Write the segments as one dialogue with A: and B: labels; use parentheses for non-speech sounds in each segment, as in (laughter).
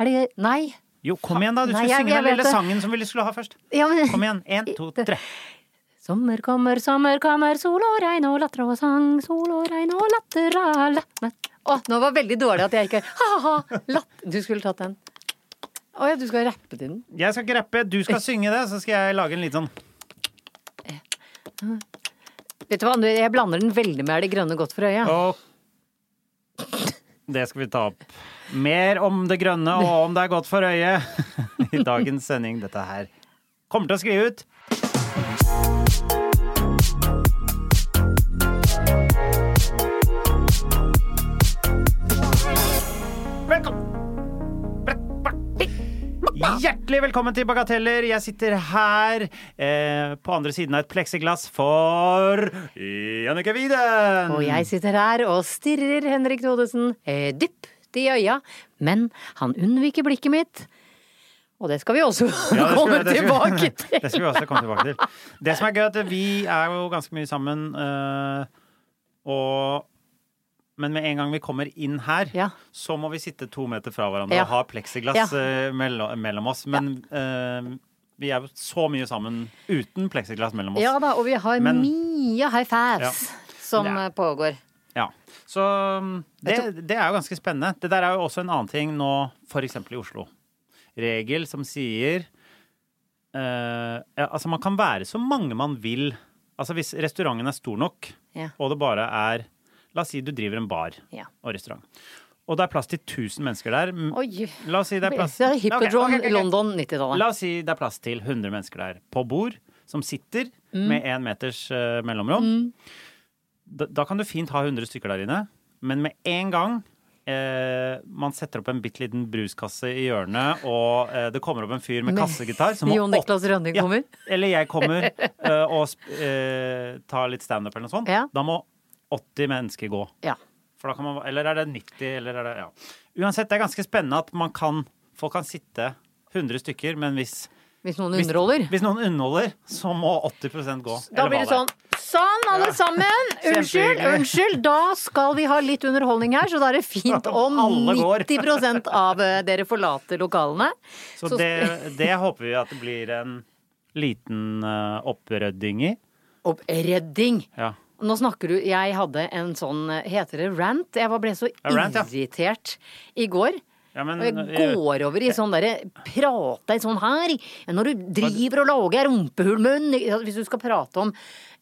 A: Er det Nei.
B: Jo, kom igjen, da! Du
A: Nei,
B: skulle
A: jeg-
B: synge
A: jeg
B: den
A: vet
B: lille
A: det.
B: sangen som vi skulle ha først.
A: Ja, men...
B: Kom igjen. Én, to, tre.
A: Sommer kommer, sommer kommer, sol og regn og latter og sang. Sol og regn og latter og la- Nei. Å, nå var det veldig dårlig at jeg ikke Ha-ha-ha! Latt... Du skulle tatt den. Å ja, du skal rappe til den.
B: Jeg skal ikke rappe, du skal synge det, så skal jeg lage en liten sånn
A: Vet du hva, jeg blander den veldig med Er det grønne godt for øya.
B: Og det skal vi ta opp. Mer om det grønne og om det er godt for øyet (laughs) i dagens sending. Dette her kommer til å skrive ut. Velkommen! Hjertelig velkommen til Bagateller. Jeg sitter her eh, på andre siden av et pleksiglass for Jannicke Widen.
A: Og jeg sitter her og stirrer Henrik Thodesen eh, dypt i øya, men han unnviker blikket mitt. Og det skal vi også
B: Ja, det
A: komme
B: skulle- det skulle-
A: tilbake til.
B: (laughs) Det skal vi også komme tilbake til. Det som er gøy, er at vi er jo ganske mye sammen, eh, og men med en gang vi kommer inn her,
A: Ja.
B: så må vi sitte to meter fra hverandre
A: Ja.
B: og ha pleksiglass
A: Ja.
B: eh, mellom, mellom oss. Men eh, vi er jo så mye sammen uten pleksiglass mellom oss.
A: Ja da, og vi har
B: Men-
A: mye high fives som
B: Det er-
A: eh, pågår.
B: Ja. Så um, det, det er jo ganske spennende. Det der er jo også en annen ting nå, f.eks. i Oslo. Regel som sier eh, ja, Altså, man kan være så mange man vil. Altså, hvis restauranten er stor nok,
A: Ja.
B: og det bare er La oss si du driver en bar
A: Ja.
B: og restaurant, og det er plass til 1000 mennesker der. M-
A: Oi.
B: La oss si det er plass
A: Det er Hippodrome
B: Ok, ok, ok.
A: London 90-tallet.
B: La oss si det er plass til 100 mennesker der på bord, som sitter
A: Mm.
B: med én meters eh, mellomrom. Da, da kan du fint ha 100 stykker der inne, men med en gang eh, man setter opp en bitte liten bruskasse i hjørnet, og eh, det kommer opp en fyr med
A: Med
B: kassegitar som må
A: Jon
B: opp-
A: Niklas Rønning
B: Ja.
A: kommer.
B: Eller jeg
A: (laughs)
B: kommer eh, og sp- eh, tar litt standup eller noe sånt.
A: Ja.
B: Da må 80 mennesker gå.
A: Ja.
B: For da kan man, eller er det 90, eller er det ja. Uansett, det er ganske spennende at man kan, folk kan sitte 100 stykker, men hvis,
A: Hvis noen
B: hvis,
A: underholder.
B: hvis noen underholder, så må 80 gå.
A: Da
B: eller
A: blir det
B: hva er.
A: sånn. Sånn, alle
B: (laughs)
A: sammen! Unnskyld,
B: Kjempehyggelig.
A: unnskyld. Da skal vi ha litt underholdning her, så da er det
B: (laughs)
A: fint om
B: Alle går.
A: 90 av eh, dere forlater lokalene.
B: Så det, det håper vi at det blir en liten eh, opprydding i.
A: Oppredding!
B: Ja.
A: Nå snakker du Jeg hadde en sånn eh, Heter det rant? Jeg var- ble så
B: Ja, rant, ja.
A: irritert i går.
B: Ja, men,
A: Og jeg
B: eh,
A: går over i sånn derre prate i sånn her ja, Når du driver og lager rumpehullmunn ikke sant, Hvis du skal prate om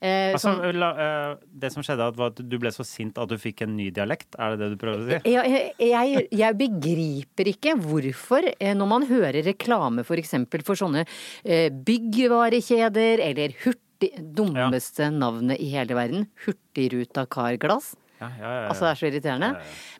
A: eh,
B: altså,
A: sånn,
B: la- eh, det som skjedde, var at du ble så sint at du fikk en ny dialekt. Er det det du prøver å si?
A: ja, jeg, jeg, jeg begriper ikke hvorfor, eh, når man hører reklame for eksempel for sånne eh, byggvarekjeder eller hurtig Dummeste navnet i hele verden. Hurtigruta Carglass.
B: Ja, ja, ja, ja.
A: Altså, det er så irriterende.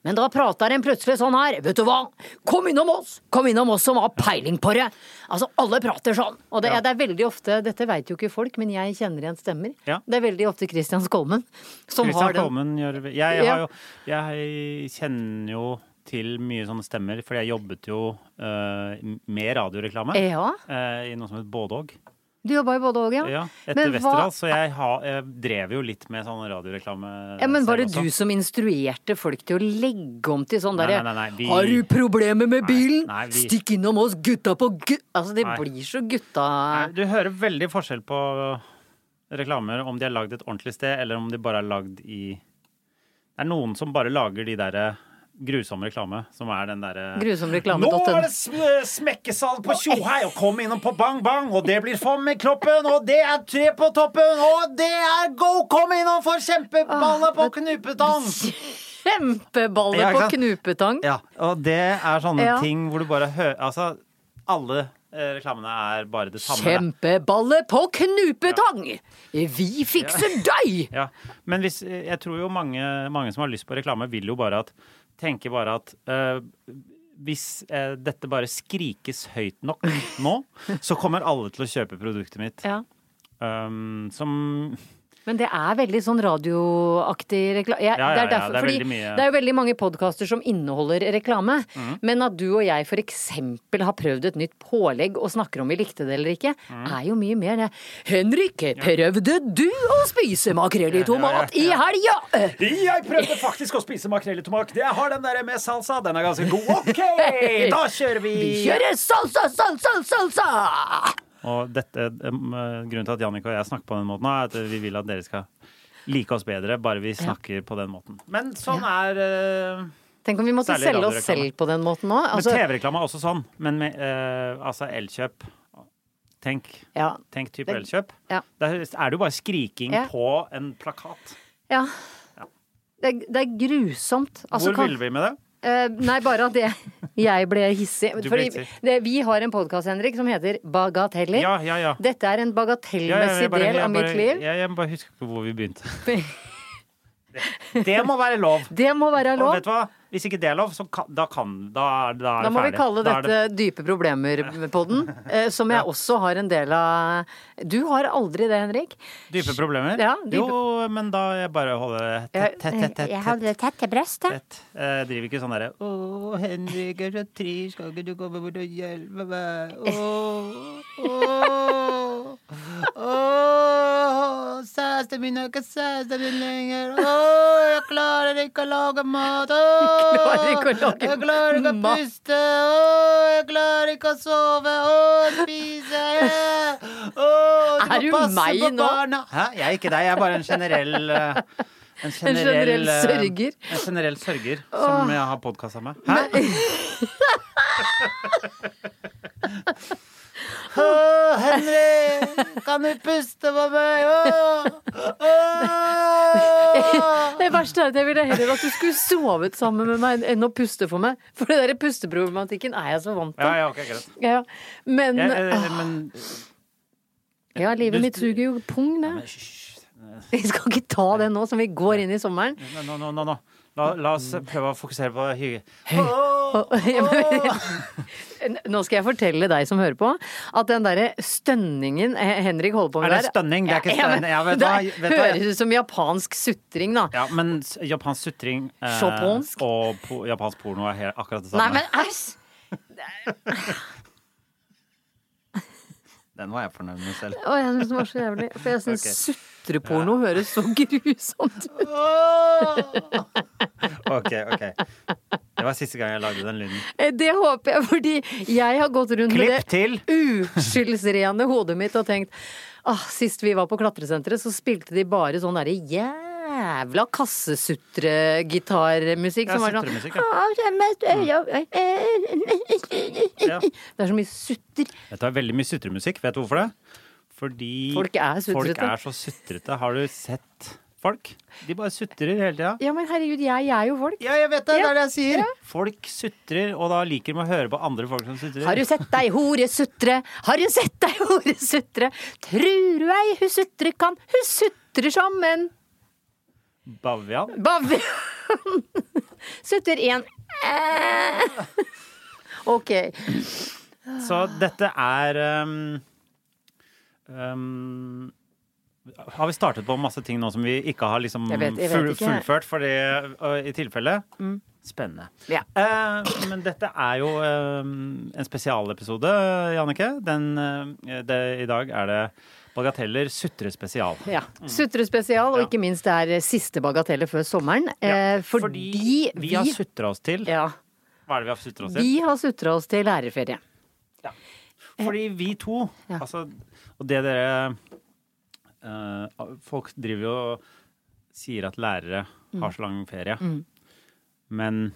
A: Men da prata den plutselig sånn her. Vet du hva! Kom innom oss! Kom innom oss som har peiling på det! Altså, alle prater sånn! Og det,
B: Ja.
A: det er veldig ofte, dette veit jo ikke folk, men jeg kjenner igjen stemmer.
B: Ja.
A: Det er veldig ofte Christian Skolmen som
B: Christian
A: har den.
B: Kolmen gjør jeg,
A: Ja.
B: har jo, jeg kjenner jo til mye sånne stemmer, fordi jeg jobbet jo eh, med radioreklame.
A: Ja.
B: eh, I noe som het Bådog.
A: Du jobba i både òg, ja.
B: Ja, etter
A: Men hva-
B: Westerdals. Så jeg, har- jeg drev jo litt med sånn radioreklame.
A: Ja, men Var det
B: selv også.
A: du som instruerte folk til å legge om til sånn
B: Nei,
A: derre
B: nei, nei, nei, vi-
A: Har du problemer med bilen?
B: nei, vi-
A: Stikk innom oss, gutta på gu... Altså, det
B: Nei.
A: blir så gutta...
B: Nei, Du hører veldig forskjell på reklamer om de er lagd et ordentlig sted, eller om de bare er lagd i Det er noen som bare lager de derre grusomme reklame, som er den derre
A: Grusomreklame.no.
B: Nå er det sm- smekkesalg på Tjohei, og kom innom på Bang Bang, og det blir fom i kroppen, og det er tre på toppen, og det er go! Kom innom for kjempeballer på knupetang!
A: Kjempeballer
B: Ja,
A: på
B: ikke sant?
A: knupetang.
B: Ja, og det er sånne
A: Ja.
B: ting hvor du bare hører Altså, alle eh, reklamene er bare det samme. da.
A: Kjempeballe på knupetang! Vi fikser deg!
B: eh, Ja, men hvis, jeg tror jo mange, mange som har lyst på reklame, vil jo bare at tenker bare at eh, hvis eh, dette bare skrikes høyt
A: (laughs)
B: nok nå, så kommer alle til å kjøpe produktet mitt.
A: Ja.
B: Um, som
A: Men det er veldig sånn radioaktig reklame. Jeg,
B: Ja, ja,
A: det, er
B: ja,
A: derfor,
B: det
A: fordi
B: er veldig mye. Mm.
A: det er jo veldig mange podkaster som inneholder reklame. Men at du og jeg for eksempel har prøvd et nytt pålegg og snakker om vi likte det eller ikke,
B: Mm.
A: er jo mye mer det. Henrik, prøvde du å spise makrell i tomat i helga? Eh,
B: Jeg prøvde faktisk å spise makrell i tomat. Jeg har den der med salsa. Den er ganske god.
A: (laughs)
B: OK, da kjører vi!
A: Vi kjører salsa, salsa, salsa!
B: Og dette, um, eh, grunnen til at Jannik og jeg snakker på den måten, er at vi vil at dere skal like oss bedre, bare vi snakker på den måten. Men sånn er eh,
A: Tenk om vi måtte
B: Særlig
A: selge oss
B: radioreklame.
A: selv på den måten nå.
B: Men
A: Altså,
B: TV-reklame er også sånn. Men med eh, altså elkjøp Tenk,
A: ja,
B: tenk type
A: Det-
B: elkjøp.
A: ja.
B: Der er det jo bare skriking
A: Ja.
B: på en plakat.
A: ja. Det, er- det er grusomt. Altså,
B: Hvor
A: kan-
B: ville vi med det?
A: Eh, nei, bare at jeg, jeg ble hissig.
B: Du ble
A: Fordi
B: hissig.
A: det, vi har en podkast, Henrik, som heter Bagateller.
B: Ja, ja, ja.
A: Dette er en
B: Ja, ja,
A: bagatellmessig
B: jeg bare-
A: del av
B: jeg
A: mitt
B: bare-
A: liv.
B: Jeg, jeg bare husker ikke hvor vi begynte.
A: (laughs)
B: Det- Det må være lov.
A: Det må være
B: Og
A: lov.
B: vet du hva? Hvis ikke det er lov, så kan, da kan da, er- da er
A: Da
B: det
A: må vi
B: ferdig.
A: kalle
B: Da er
A: dette Dype
B: (laughs)
A: problemer-podden, eh, som jeg også har en del av. Du har aldri det, Henrik.
B: det dype problemer.
A: Ja, dype-
B: Jo, men da jeg bare holder det tett, tett, tett. tett,
C: Jeg hadde det tette brøstet.
B: tett. Eh, driver ikke sånn derre Å, Henrik er så trist, skal ikke du komme bort og hjelpe meg? Å, å, å, Søsteren min er ikke søsteren min lenger. Å, jeg klarer ikke å lage mat. Å,
A: (laughs) Klarer ikke å lage
B: jeg klarer ikke å
A: mat.
B: puste. Å, jeg klarer ikke å sove. Å, spise. Å,
A: Er
B: du må
A: du
B: passe
A: meg
B: på
A: nå?
B: barna. Hæ? Jeg er ikke deg, jeg er bare en generell eh,
A: (laughs)
B: en generell,
A: generell
B: eh,
A: sørger.
B: En generell sørger som jeg har podkasta med. Hæ? (laughs) Å, Henry, kan du puste på meg? Å, å.
A: Det verste er at jeg ville heller at du skulle sovet sammen med meg enn å puste for meg. For den der pusteproblematikken er jeg så vant
B: Ja,
A: til.
B: ja, ok, greit.
A: Ja, ja. Men
B: Jeg, eh,
A: ah,
B: men
A: Ja, livet
B: du-
A: mitt suger jo pung, det.
B: men hysj.
A: (laughs) Vi skal ikke ta det nå som vi går inn i sommeren.
B: Nå, nå, nå, nå, nå. La, la oss prøve å fokusere på hygge.
A: (laughs) Nå skal jeg fortelle deg som hører på, at den derre stønningen eh, Henrik holder på med
B: Er det
A: der-
B: stønning? Det er ikke
A: Ja, men
B: stønning. Ja, vet du
A: det
B: hva?
A: er-
B: Vet du hva?
A: høres ut som japansk sutring, da.
B: Ja, men s- japansk sutring eh,
A: Japansk?
B: og po japansk porno sånn er helt, akkurat det samme.
A: Nei, men æsj!
B: Den var jeg fornøyd med selv.
A: Å, jeg syns det var så jævlig. For jeg syns
B: Ok.
A: sutreporno høres så (laughs) grusomt ut.
B: (laughs) Ok, ok. Det var siste gang jeg lagde den lyden.
A: Eh, Det håper jeg, fordi jeg har gått rundt med det.
B: Klipp til!
A: uskyldsrene hodet mitt og tenkt ah, Sist vi var på klatresenteret, så spilte de bare sånn derre jævla kassesutregitarmusikk.
B: Ja,
A: som var sånn
B: sutremusikk, ja.
A: «Ah, det er mest- ja, eh,
B: Ja.
A: Det er så mye sutter.
B: Dette er veldig mye sutremusikk. Vet du hvorfor det? Fordi
A: Folk er sutrete.
B: folk er så sutrete. Har du sett folk? De bare sutrer hele tida.
A: Ja, men herregud, jeg, jeg er jo folk.
B: Ja, jeg vet det!
A: Ja,
B: Det er det jeg sier. Folk sutrer, og da liker de å høre på andre folk som sutrer.
A: Har du sett deg hore sutre? Har du sett deg hore sutre? Trur du ei hun sutre kan? Hun sutrer som en
B: Bavian?
A: Bavian. (laughs) Sutter én. (laughs) Ok.
B: Så dette er ehm, ehm, Har vi startet på masse ting nå som vi ikke har liksom
A: Jeg vet- jeg vet
B: full,
A: ikke. Mm.
B: fullført, fordi, ø, i tilfelle? Spennende.
A: Ja.
B: Eh, men dette er jo ehm, en spesialepisode, Jannicke. Den, eh, det, I dag er det Bagateller sutre spesial.
A: Ja. Sutre spesial, og
B: Ja.
A: ikke minst det er eh, siste bagatelle før sommeren. eh, fordi,
B: vi har sutra oss til
A: ja,
B: Hva er det vi har sutra oss til?
A: vi har sutra oss til lærerferie.
B: Fordi vi to
A: Ja.
B: altså, Og det dere eh, Folk driver jo og sier at lærere
A: Mm.
B: har så lang ferie. Men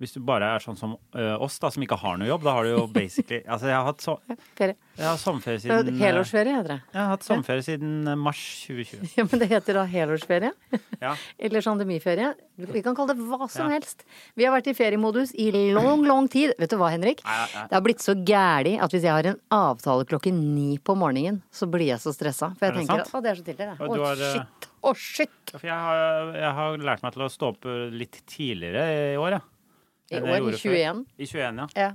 B: hvis du bare er sånn som eh, oss, da, som ikke har noe jobb, da har du
A: (laughs)
B: jo basically Altså, jeg har hatt, so
A: Ferie.
B: jeg har sommerferie siden eh,
A: Helårsferie heter det.
B: Jeg har hatt sommerferie siden eh, mars 2020.
A: Ja, men det heter da helårsferie.
B: Ja.
A: Eller sandemiferie. Vi kan kalle det hva som
B: Ja.
A: helst. Vi har vært i feriemodus i lang, lang tid. Vet du hva, Henrik?
B: Nei, nei, nei.
A: Det har blitt så gæli at hvis jeg har en avtale klokken ni på morgenen, så blir jeg så stressa. For jeg
B: Er det
A: tenker at
B: sant?
A: å, det er så tidlig, det.
B: Og du
A: Å,
B: har, eh,
A: shit. Å, shit!
B: Ja, For jeg har, jeg har lært meg til å stå opp eh, litt tidligere i år, ja.
A: I
B: Enn jeg
A: år, i
B: gjorde før.
A: 21.
B: I 21, ja.
A: Ja.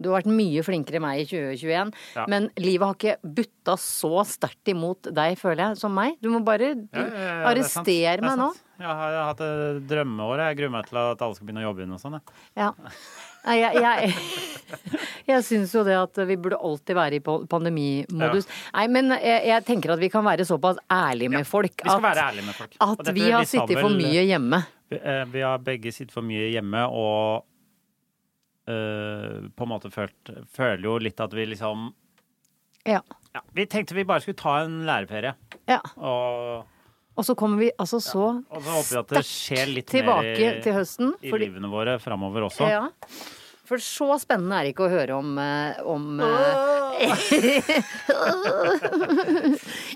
A: Du har vært mye flinkere enn meg i 2021,
B: Ja.
A: men livet har ikke butta så sterkt imot deg, føler jeg, som meg. Du må bare du,
B: Ja, ja, ja, ja, det er sant. Det
A: arrestere
B: er
A: meg nå.
B: sant. Jeg har, jeg har hatt et drømmeår. Jeg gruer meg til at alle skal begynne å jobbe igjen og sånn. jeg.
A: Ja. Nei, jeg, jeg, (laughs) jeg syns jo det at vi burde alltid være i pa- pandemimodus. Nei, men jeg, jeg tenker at vi kan være såpass ærlige med folk
B: Vi skal
A: at,
B: være ærlige med folk. Og
A: at
B: dette-
A: vi har
B: sa
A: sittet
B: vel-
A: for mye hjemme.
B: Vi, eh, vi har begge sittet for mye hjemme og eh, på en måte følt, føler jo litt at vi liksom
A: Ja.
B: ja, Vi tenkte vi bare skulle ta en læreferie.
A: ja.
B: Og,
A: Og så kommer vi altså så
B: og så håper vi at det skjer litt
A: tilbake
B: mer i,
A: til høsten.
B: i
A: fordi-
B: livene våre framover også.
A: Ja. For så spennende er det ikke å høre om, eh, om eh,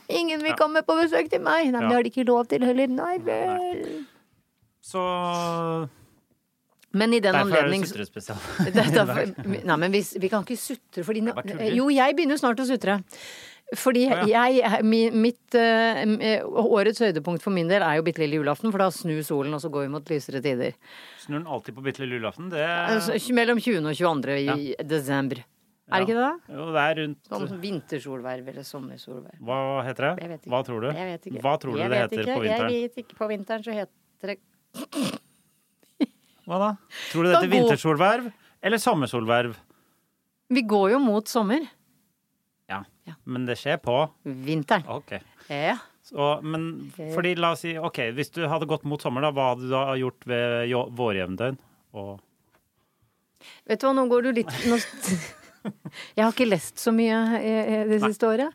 A: (laughs) Ingen vil komme på besøk til meg! Nei, men
B: Ja.
A: det har de ikke lov til heller. Nei vel.
B: Så
A: Men i den
B: derfor er det
A: anledning
B: sutrespesial.
A: (laughs)
B: (laughs)
A: Det er derfor, nei, men vi, vi kan ikke sutre fordi
B: Nei, bare tuller.
A: Jo, jeg begynner snart å sutre. Fordi
B: Å,
A: jeg mi- Mitt eh, m- eh, Årets høydepunkt for min del er jo bitte lille julaften, for da snur solen, og så går vi mot lysere tider.
B: Snur den alltid på bitte lille julaften. Det,
A: Altså, mellom 20. og 22. i desember. Er det ikke det? da?
B: jo, det er rundt
A: Sånn vintersolverv eller sommersolverv.
B: Hva heter det?
A: Jeg vet ikke.
B: Hva tror du?
A: Jeg vet ikke.
B: Hva tror du
A: Jeg
B: det
A: vet
B: heter
A: ikke.
B: på vinteren?
A: Jeg vet ikke. På vinteren så heter det
B: Hva da? Tror du det
A: Da
B: heter
A: går-
B: vintersolverv eller sommersolverv?
A: Vi går jo mot sommer.
B: Ja.
A: Ja.
B: Men det skjer på
A: Vinteren.
B: OK.
A: Ja.
B: Så, men fordi la oss si OK, hvis du hadde gått mot sommer, da, hva hadde du da gjort ved jo- vårjevndøgn? Og
A: Vet du hva, nå går du litt nå... (laughs) Jeg har ikke lest så mye eh, eh, det siste året.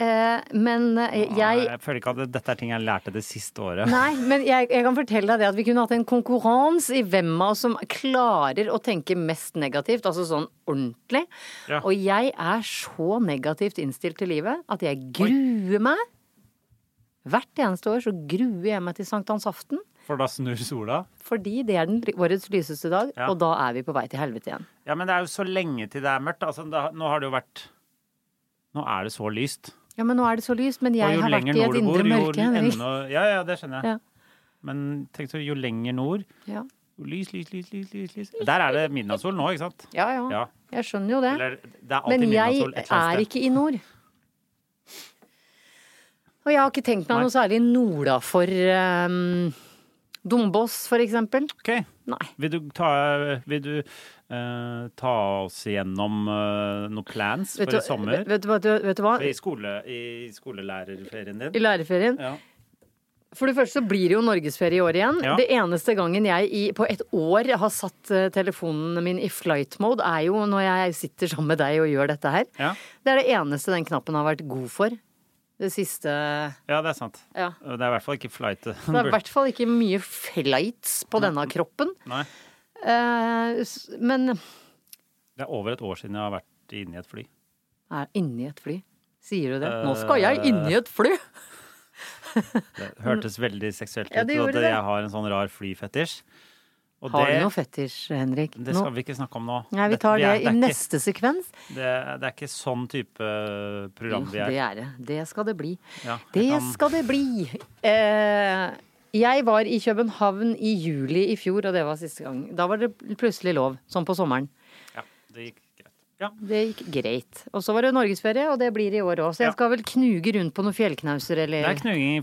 A: Eh, Men eh, jeg
B: jeg føler ikke at det- dette er ting jeg lærte det siste året.
A: Nei, men jeg, jeg kan fortelle deg det at vi kunne hatt en konkurranse i hvem av oss som klarer å tenke mest negativt, altså sånn ordentlig.
B: Ja.
A: Og jeg er så negativt innstilt til livet at jeg gruer meg. Hvert eneste år så gruer jeg meg til sankthansaften,
B: For da snur sola.
A: fordi det er den årets lyseste dag,
B: Ja.
A: og da er vi på vei til helvete igjen.
B: Ja, men det er jo så lenge til det er mørkt. Altså, da, nå har det jo vært Nå er det så lyst.
A: Ja, men nå er det så lyst, men
B: Og
A: jeg
B: jo
A: har vært
B: lenger
A: i
B: nord
A: et
B: du bor,
A: indre
B: jo
A: mørke, Henrik.
B: enda Ja, ja, det skjønner jeg.
A: Ja.
B: Men tenk så, jo lenger nord
A: Ja.
B: jo Lys, lys, lys, lys, lys, lys. Der er det midnattssol nå, ikke sant?
A: Ja, ja,
B: Ja.
A: Jeg skjønner jo det.
B: Eller det er alltid
A: Men jeg
B: midnattssol et
A: er
B: eller annet sted.
A: ikke i nord. Og jeg har ikke tenkt meg
B: Nei.
A: noe særlig norda for um, Dombås, for eksempel.
B: Ok.
A: Nei.
B: Vil du ta, vil du, eh, ta oss igjennom eh, noen plans
A: Vet
B: for
A: du,
B: i sommer?
A: vet, du hva- du- vet du hva?
B: I, skole, I skolelærerferien
A: I
B: din?
A: lærerferien.
B: Ja.
A: For det første så blir det jo norgesferie i år igjen.
B: Ja.
A: Det eneste gangen jeg i, på et år har satt eh, telefonen min i flight mode, er jo når jeg sitter sammen med deg og gjør dette her.
B: Ja.
A: Det er det eneste den knappen har vært god for. Det siste Ja.
B: ja, det er sant. Det er i hvert fall ikke flight.
A: Det er i hvert fall ikke mye flights på denne kroppen.
B: (laughs) Nei.
A: Eh, s- Men
B: Det er over et år siden jeg har vært inne i et fly.
A: er inni et fly. Sier du det? Nå skal
B: Eh,
A: jeg inni et fly!
B: Det hørtes veldig seksuelt ut.
A: Ja, det
B: og
A: gjorde
B: at
A: det.
B: Jeg har en sånn rar flyfetisj. Og
A: Har
B: det,
A: du noe fetisj, Henrik?
B: det skal
A: Nå-
B: vi ikke snakke om nå.
A: Nei, vi
B: Dette-
A: tar
B: er-
A: det i
B: er ikke-
A: neste sekvens.
B: Det, det er ikke sånn type program vi
A: Jo,
B: er.
A: Det er det. Det skal det bli.
B: Ja,
A: det
B: jeg kan-
A: skal det bli. Eh, jeg var i København i juli i fjor, og det var siste gang. Da var det plutselig lov, sånn på sommeren.
B: Ja, det gikk greit. Ja.
A: Det gikk greit. Og så var det norgesferie, og det blir i år òg. Så jeg
B: Ja.
A: skal vel knuge rundt på noen fjellknauser
B: Det
A: eller
B: er knuging i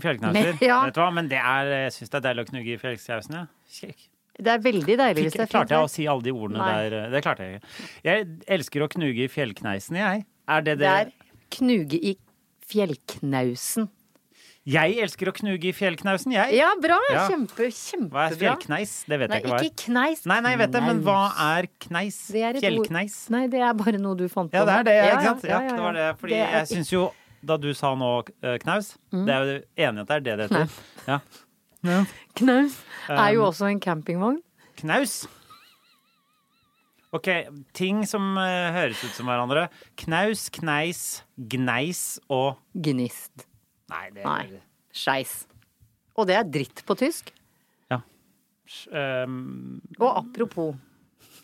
A: Men-
B: fjellknauser.
A: (laughs) ja.
B: Vet du hva? Men det er, jeg syns det er deilig å knugge i fjellknausen. Ja. Kjekk.
A: Det er veldig deilig hvis det
B: Fikk-
A: er fint
B: Klarte jeg å
A: vær.
B: si alle de ordene
A: Nei.
B: der? eh, Det klarte jeg ikke. Jeg elsker å knuge i fjellkneisen, jeg. Er
A: Det
B: det det?
A: er knuge i fjellknausen.
B: Jeg elsker å knuge i fjellknausen, jeg.
A: Ja, bra!
B: Ja.
A: Kjempe,
B: Hva er
A: kjempebra.
B: fjellkneis? Det vet
A: Nei,
B: jeg ikke hva er.
A: ikke kneis.
B: Nei, nei, jeg vet det, men hva
A: Knaus.
B: er kneis?
A: Det er et ord-
B: Fjellkneis?
A: Nei, det er bare noe du fant på.
B: Ja, det
A: nå.
B: er det,
A: Ja,
B: ikke sant? Ja,
A: ja, ja,
B: det var det.
A: ja.
B: Fordi
A: Det er- Mm.
B: jeg syns jo, da du sa nå eh, knaus, det er jo enig at det er det det heter. Ja.
A: Knaus er jo
B: Um,
A: også en campingvogn.
B: Knaus. OK, ting som eh, høres ut som hverandre. Knaus, kneis, gneis og
A: Gnist.
B: Nei, det
A: Nei. Skeis. Og det er dritt på tysk.
B: Ja. Sj- ehm,
A: Og apropos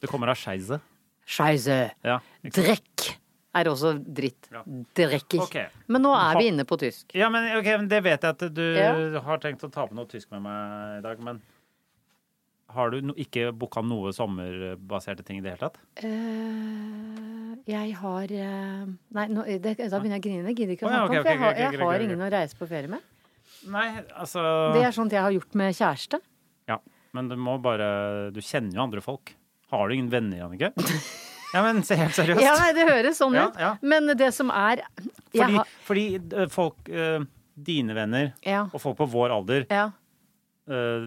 B: det kommer av skeise.
A: Scheise.
B: Ja. ikke sant?
A: Drekk. er også dritt.
B: Ja.
A: Drekker.
B: Ok.
A: Men nå er vi inne på tysk.
B: Ja, men, ok, men det vet jeg at du
A: Ja.
B: har tenkt å ta på noe tysk med meg i dag, men har du no ikke booka noe sommerbaserte ting i det hele tatt?
A: Eh, jeg har eh, Nei, nå, det, da begynner jeg å grine. Det gidder jeg ikke å
B: Å, ja,
A: snakke
B: ok,
A: om, for jeg
B: ok,
A: har,
B: ok,
A: jeg
B: ok, ok,
A: har
B: ok.
A: ingen å reise på ferie med.
B: Nei, altså
A: Det er sånt jeg har gjort med kjæreste.
B: Ja, men du må bare Du kjenner jo andre folk. Har du ingen venner, Jannicke?
A: (laughs)
B: Ja, men se helt seriøst.
A: Ja, nei, det høres sånn
B: Ja,
A: ut.
B: ja.
A: Men det som er jeg
B: fordi,
A: har,
B: fordi eh, folk eh, Dine venner
A: ja,
B: og folk på vår alder
A: ja.
B: eh,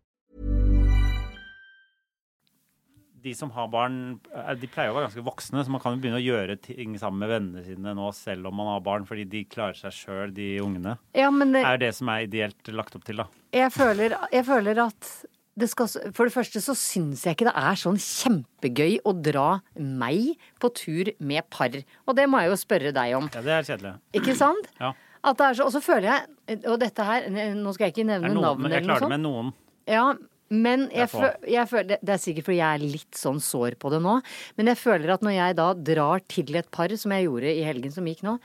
B: de som har barn, eh, de pleier å være ganske voksne, så man kan jo begynne å gjøre ting sammen med vennene sine nå, selv om man har barn, fordi de klarer seg sjøl, de ungene.
A: ja, men
B: Det
A: det,
B: er jo det som er ideelt lagt opp til, da.
A: jeg, føler, jeg føler at det skal, så- for det første så syns jeg ikke det er sånn kjempegøy å dra meg på tur med par. Og det må jeg jo spørre deg om.
B: Ja, det er kjedelig.
A: Ikke sant?
B: Ja.
A: At det er så, og så føler jeg Og dette her, nå skal jeg ikke
B: Det
A: nevne
B: er noen,
A: navn
B: jeg
A: eller noe
B: klarer det
A: sånt.
B: med noen.
A: Ja, men jeg,
B: får.
A: fø- jeg føler, det- det er sikkert fordi jeg er litt sånn sår på det nå, men jeg føler at når jeg da drar til et par, som jeg gjorde i helgen som gikk nå,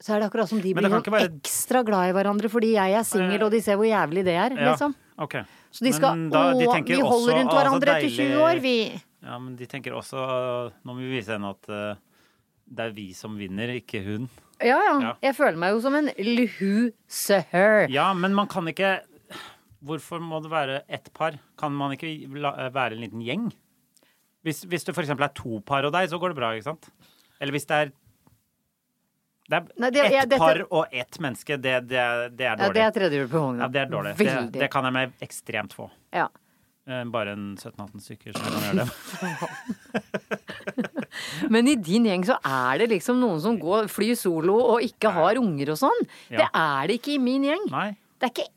A: så er det akkurat som de
B: Men
A: blir
B: det kan
A: sånn
B: ikke være-
A: ekstra glad i hverandre fordi jeg er singel og de ser hvor jævlig det er,
B: Ja,
A: liksom.
B: ok.
A: Så de skal
B: Men da- de
A: Å,
B: tenker
A: vi
B: også,
A: holder rundt
B: «Å, så
A: hverandre etter 20 år,
B: deilig».
A: vi.
B: Ja, men de tenker også Nå må vi vise henne at eh, det er vi som vinner, ikke hun.
A: Ja, ja.
B: Ja.
A: Jeg føler meg jo som en luhu-seher.
B: Ja, men man kan ikke Hvorfor må det være ett par? Kan man ikke la, være en liten gjeng? Hvis, hvis det f.eks. er to par og deg, så går det bra, ikke sant? Eller hvis det er Det er
A: Nei, det-
B: ett
A: ja, dette-
B: par og ett menneske, det, det, er- det er
A: Ja, det
B: dårlig.
A: er tredje hjul på vogna.
B: Ja, det er dårlig. Det,
A: Veldig.
B: det kan jeg med ekstremt få.
A: Ja.
B: Eh, Bare en 17-18 stykker som kan gjøre
A: (laughs)
B: det.
A: Men i din gjeng så er det liksom noen som går, flyr solo og ikke har unger og sånn. Det
B: Ja.
A: er det ikke i min gjeng.
B: Nei.
A: Det er ikke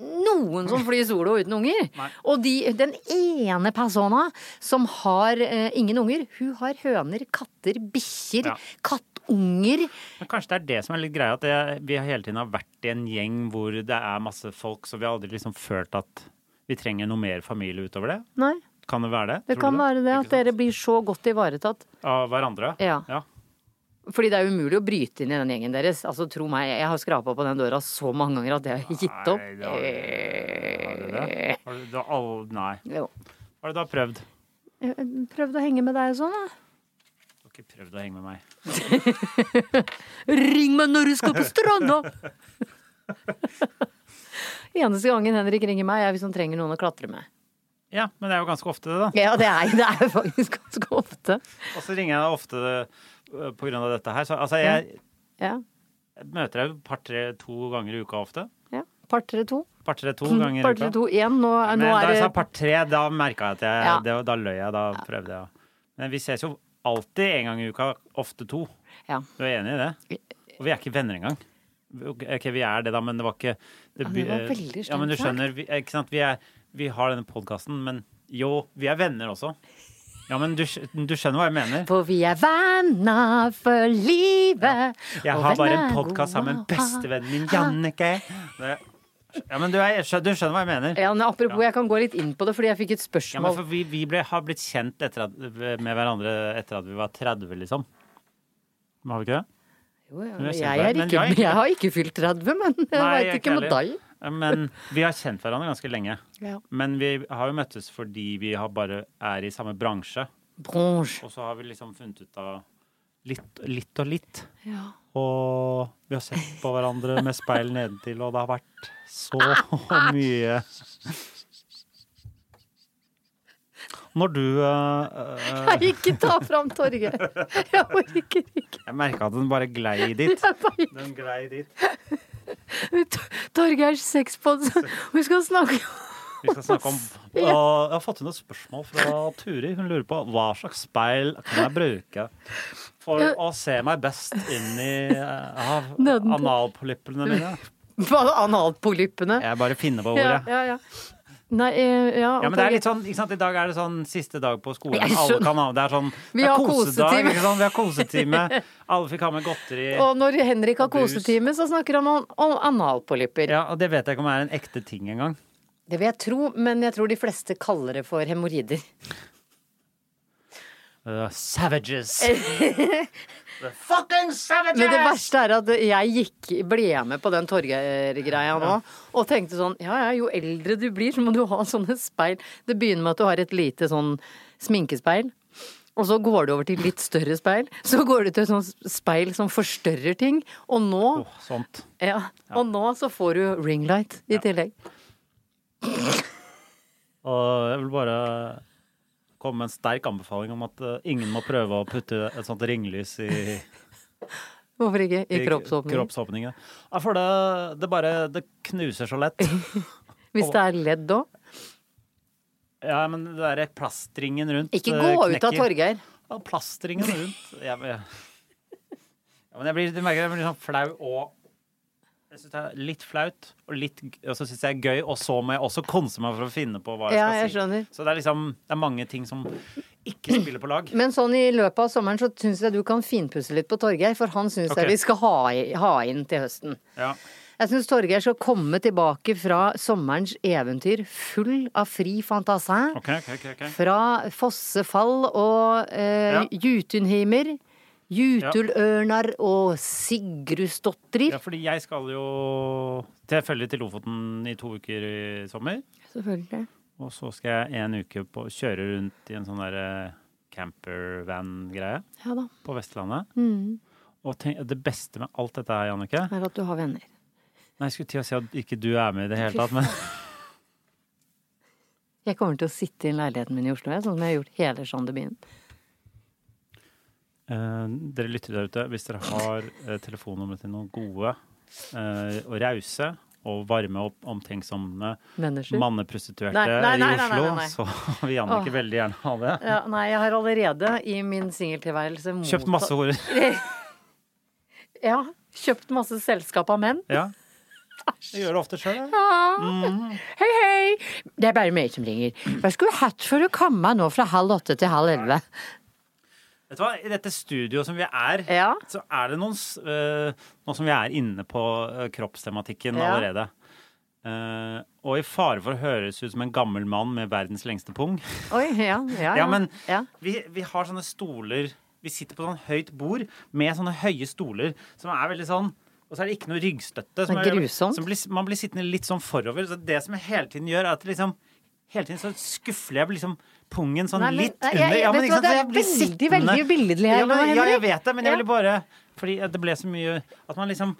A: noen som flyr solo uten unger.
B: Nei.
A: Og de, den ene persona som har eh, ingen unger, hun har høner, katter, bikkjer,
B: Ja.
A: kattunger.
B: Men kanskje det er det som er litt greia, at det, vi har hele tiden har vært i en gjeng hvor det er masse folk, så vi har aldri liksom følt at vi trenger noe mer familie utover det.
A: Nei,
B: Kan det være det?
A: det
B: tror
A: kan
B: du?
A: være det
B: Ikke
A: at dere blir så godt ivaretatt.
B: sant? Av hverandre?
A: Ja. Fordi det er umulig å bryte inn i den gjengen deres. Altså, tro meg, jeg har skrapa på den døra så mange ganger at jeg har gitt opp. Eh,
B: Nei, det har, har du det? Har du, du har all, nei.
A: Jo. Eh,
B: Har du da prøvd?
A: Prøvd å henge med deg og sånn, da.
B: Du har ikke prøvd å henge med meg.
A: Ring meg når du skal på
B: (laughs)
A: stranda! Eneste gangen Henrik ringer meg, er hvis han trenger noen å klatre med.
B: Ja, men det er jo ganske ofte det, da.
A: Ja, det er, det er faktisk ganske ofte.
B: Og så ringer jeg deg ofte øh, på grunn av dette her. Så altså, jeg
A: Ja.
B: møter deg jo par-tre to ganger i uka ofte.
A: ja. Par-tre to.
B: Par-tre to ganger i uka.
A: Par-tre to igjen. Mm, Nå,
B: Men
A: nå
B: da
A: er
B: jeg sa
A: det
B: part tre, da merka jeg at jeg
A: Ja.
B: det, Da løy jeg, da prøvde jeg. å- Men vi ses jo alltid en gang i uka, ofte to.
A: ja.
B: Du er enig i det? Og vi er ikke venner engang. Ok, vi er det, da, men det var ikke Det,
A: men det var
B: eh,
A: veldig
B: Ja, men du
A: slemt sagt.
B: skjønner, vi, eh, ikke sant? Vi, er, vi har denne podkasten, men jo, vi er venner også. Ja, men du, skj- du skjønner hva jeg mener?
A: For vi er venner for livet.
B: Jeg
A: og
B: har bare
A: venner
B: en
A: er
B: podkast sammen med
A: gode å ha.
B: bestevennen min, Jannicke. Det- Ja, men du, er, skjø- du skjønner hva jeg mener?
A: Ja, men apropos, jeg kan gå litt inn på det, fordi jeg fikk et
B: Ja, men
A: spørsmål.
B: for vi, vi ble, har blitt kjent etter at, med hverandre etter at vi var 30, liksom. Men Har vi ikke det?
A: Jo, ja,
B: er
A: jeg, er
B: kjempe- men
A: ikke,
B: jeg er ikke-
A: jeg har ikke fylt 30, men jeg
B: Nei,
A: veit ikke med deg.
B: heller. Men vi har kjent hverandre ganske lenge.
A: Ja.
B: Men vi har jo møttes fordi vi har bare er i samme bransje.
A: Bronche.
B: Og så har vi liksom funnet ut av litt, litt og litt.
A: Ja.
B: Og vi har sett på hverandre med speil nedentil, og det har vært så
A: (laughs)
B: mye Når du eh, eh,
A: Nei, ikke ta fram torget! Jeg orker ikke.
B: Jeg merka at den bare glei
A: (laughs)
B: dit.
A: Jeg bare
B: Den glei dit.
A: Torgeirs sexpod. Hun skal snakke
B: Vi skal snakke om
A: (laughs)
B: og Jeg har fått inn et spørsmål fra Turi. Hun lurer på hva slags speil kan jeg bruke for å se meg best inn i eh, av
A: (laughs) Nedenpå.
B: analpolyppene mine.
A: om analpolyppene.
B: Jeg bare finner på
A: Ja,
B: ordet.
A: ja, ja. Nei, eh, ja,
B: Ja, men det er litt sånn, ikke sant? I dag er det sånn siste dag på skolen.
A: Jeg
B: Alle
A: skjønner.
B: kan ha, det er sånn
A: Vi
B: det er
A: har
B: kosedag,
A: kosetime.
B: Ikke sant? Vi har kosetime.
A: (laughs)
B: Alle fikk ha med godteri.
A: Og når Henrik har
B: Og bus.
A: kosetime, så snakker han om, om analpolypper.
B: Ja, og det vet jeg ikke om er en ekte ting engang.
A: Det vil jeg tro, men jeg tror de fleste kaller det for hemoroider.
B: Uh, savages.
A: Eh. Men det verste er at jeg gikk, ble med på den Torgeir-greia nå, og tenkte sånn Ja ja, jo eldre du blir, så må du ha sånne speil. Det begynner med at du har et lite sånn sminkespeil. Og så går du over til litt større speil. Så går du til et sånt speil som forstørrer ting. Og nå,
B: Åh, sånt.
A: ja, og nå så får du ringlight i tillegg.
B: Og jeg vil bare komme med en sterk anbefaling om at eh, ingen må prøve å putte et sånt ringlys i,
A: Hvorfor ikke? I kroppsåpning.
B: kroppsåpningen. Ja, for det, det bare Det knuser så
A: (laughs)
B: lett.
A: Hvis det er ledd òg.
B: Ja, men det derre plastringen rundt
A: Ikke
B: eh,
A: gå ut av
B: knekker.
A: Torgeir.
B: Ja, plastringen rundt. Jeg, jeg, ja, men jeg blir, du merker jeg blir sånn flau og jeg synes det er Litt flaut, og, litt, g- og så syns jeg det er gøy, og så må jeg også konse meg for å finne på hva jeg
A: Ja,
B: skal
A: jeg
B: si.
A: skjønner.
B: Så det er liksom det er mange ting som ikke spiller på lag.
A: Men sånn i løpet av sommeren så syns jeg du kan finpusse litt på Torgeir, for han syns
B: Ok.
A: jeg vi skal ha, i, ha inn til høsten.
B: Ja.
A: Jeg syns Torgeir skal komme tilbake fra sommerens eventyr full av fri fantasi.
B: Ok, ok, ok. ok.
A: Fra fossefall og eh,
B: Ja.
A: jutunhimer, jutulørnar og Sigrudsdottir.
B: Ja, fordi jeg skal jo tilfeldig til Lofoten i to uker i sommer.
A: Selvfølgelig.
B: Og så skal jeg en uke på, kjøre rundt i en sånn derre campervan-greie
A: Ja da.
B: på Vestlandet.
A: Mm.
B: Og tenk, det beste med alt dette her, Jannicke
A: Er at du har venner.
B: Nei, jeg skulle til å si at ikke du er med i det hele tatt, men
A: Jeg kommer til å sitte i leiligheten min i Oslo, jeg, sånn som jeg har gjort hele Sandebyen.
B: eh, dere lytter der ute. Hvis dere har uh, telefonnummeret til noen gode eh, og rause og varme og omtenksomme
A: Mennesker.
B: eh, manneprostituerte
A: Nei, nei, nei,
B: i
A: nei, nei,
B: Oslo,
A: nei, nei.
B: så (laughs) vil Jannicke veldig gjerne ha det.
A: Ja, nei, jeg har allerede i min singeltilværelse
B: Kjøpt
A: mottatt-
B: masse horer. (laughs)
A: Ja. Kjøpt masse selskap av menn.
B: Ja. Jeg gjør det ofte sjøl, jeg.
A: Hei, hei! Det er bare meg som ringer. Hva skulle du hatt for å komme nå fra halv åtte til halv elleve?
B: Vet du hva, I dette studioet som vi er,
A: Ja.
B: så er det noen s- eh, Nå som vi er inne på eh, kroppstematikken
A: Ja.
B: allerede. Eh, og i fare for å høres ut som en gammel mann med verdens lengste pung.
A: Oi, ja, ja,
B: Ja, men
A: ja.
B: Vi, vi har sånne stoler Vi sitter på sånn høyt bord med sånne høye stoler som er veldig sånn og så er det ikke noe ryggstøtte. Som
A: Men
B: er-
A: grusomt.
B: Som blir, man blir sittende litt sånn forover. Så det som jeg hele tiden gjør, er at liksom Hele tiden så skufler jeg liksom pungen sånn
A: Nei, men-
B: litt
A: nei, jeg-
B: under.
A: jeg-
B: men
A: vet
B: ikke
A: du hva,
B: sant, så
A: det er
B: jeg blir
A: veldig,
B: sittende.
A: veldig billedlig her
B: ja, men,
A: nå,
B: ja, jeg
A: Henrik.
B: vet det, men
A: Ja.
B: jeg ville bare Fordi det ble så mye At man liksom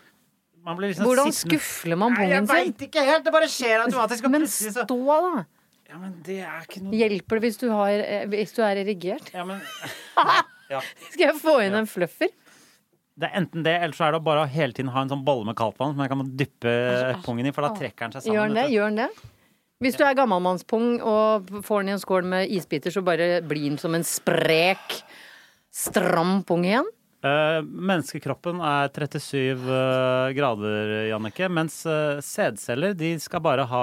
B: Man blir liksom
A: Hvordan
B: sittende
A: skufler man
B: Nei,
A: pungen
B: Jeg
A: sin?
B: veit ikke helt! Det bare skjer automatisk. og
A: Men
B: plutselig så-
A: stå, da!
B: Ja, men det er ikke noe
A: Hjelper det hvis du, har, eh, hvis du er erigert? (laughs)
B: Ja, men ja.
A: Skal jeg få inn en fluffer?
B: Det er enten det, eller så er det å bare hele tiden ha en sånn bolle med kaldt vann som jeg kan dyppe pungen i, for da trekker den seg sammen.
A: Altså, Gjør den det?
B: vet du.
A: Gjør den det? Hvis du er gammalmannspung og får den i en skål med isbiter, så bare blir den som en sprek, stram pung igjen?
B: Eh, menneskekroppen er 37 eh, grader, Jannicke, mens eh, sædceller de skal bare ha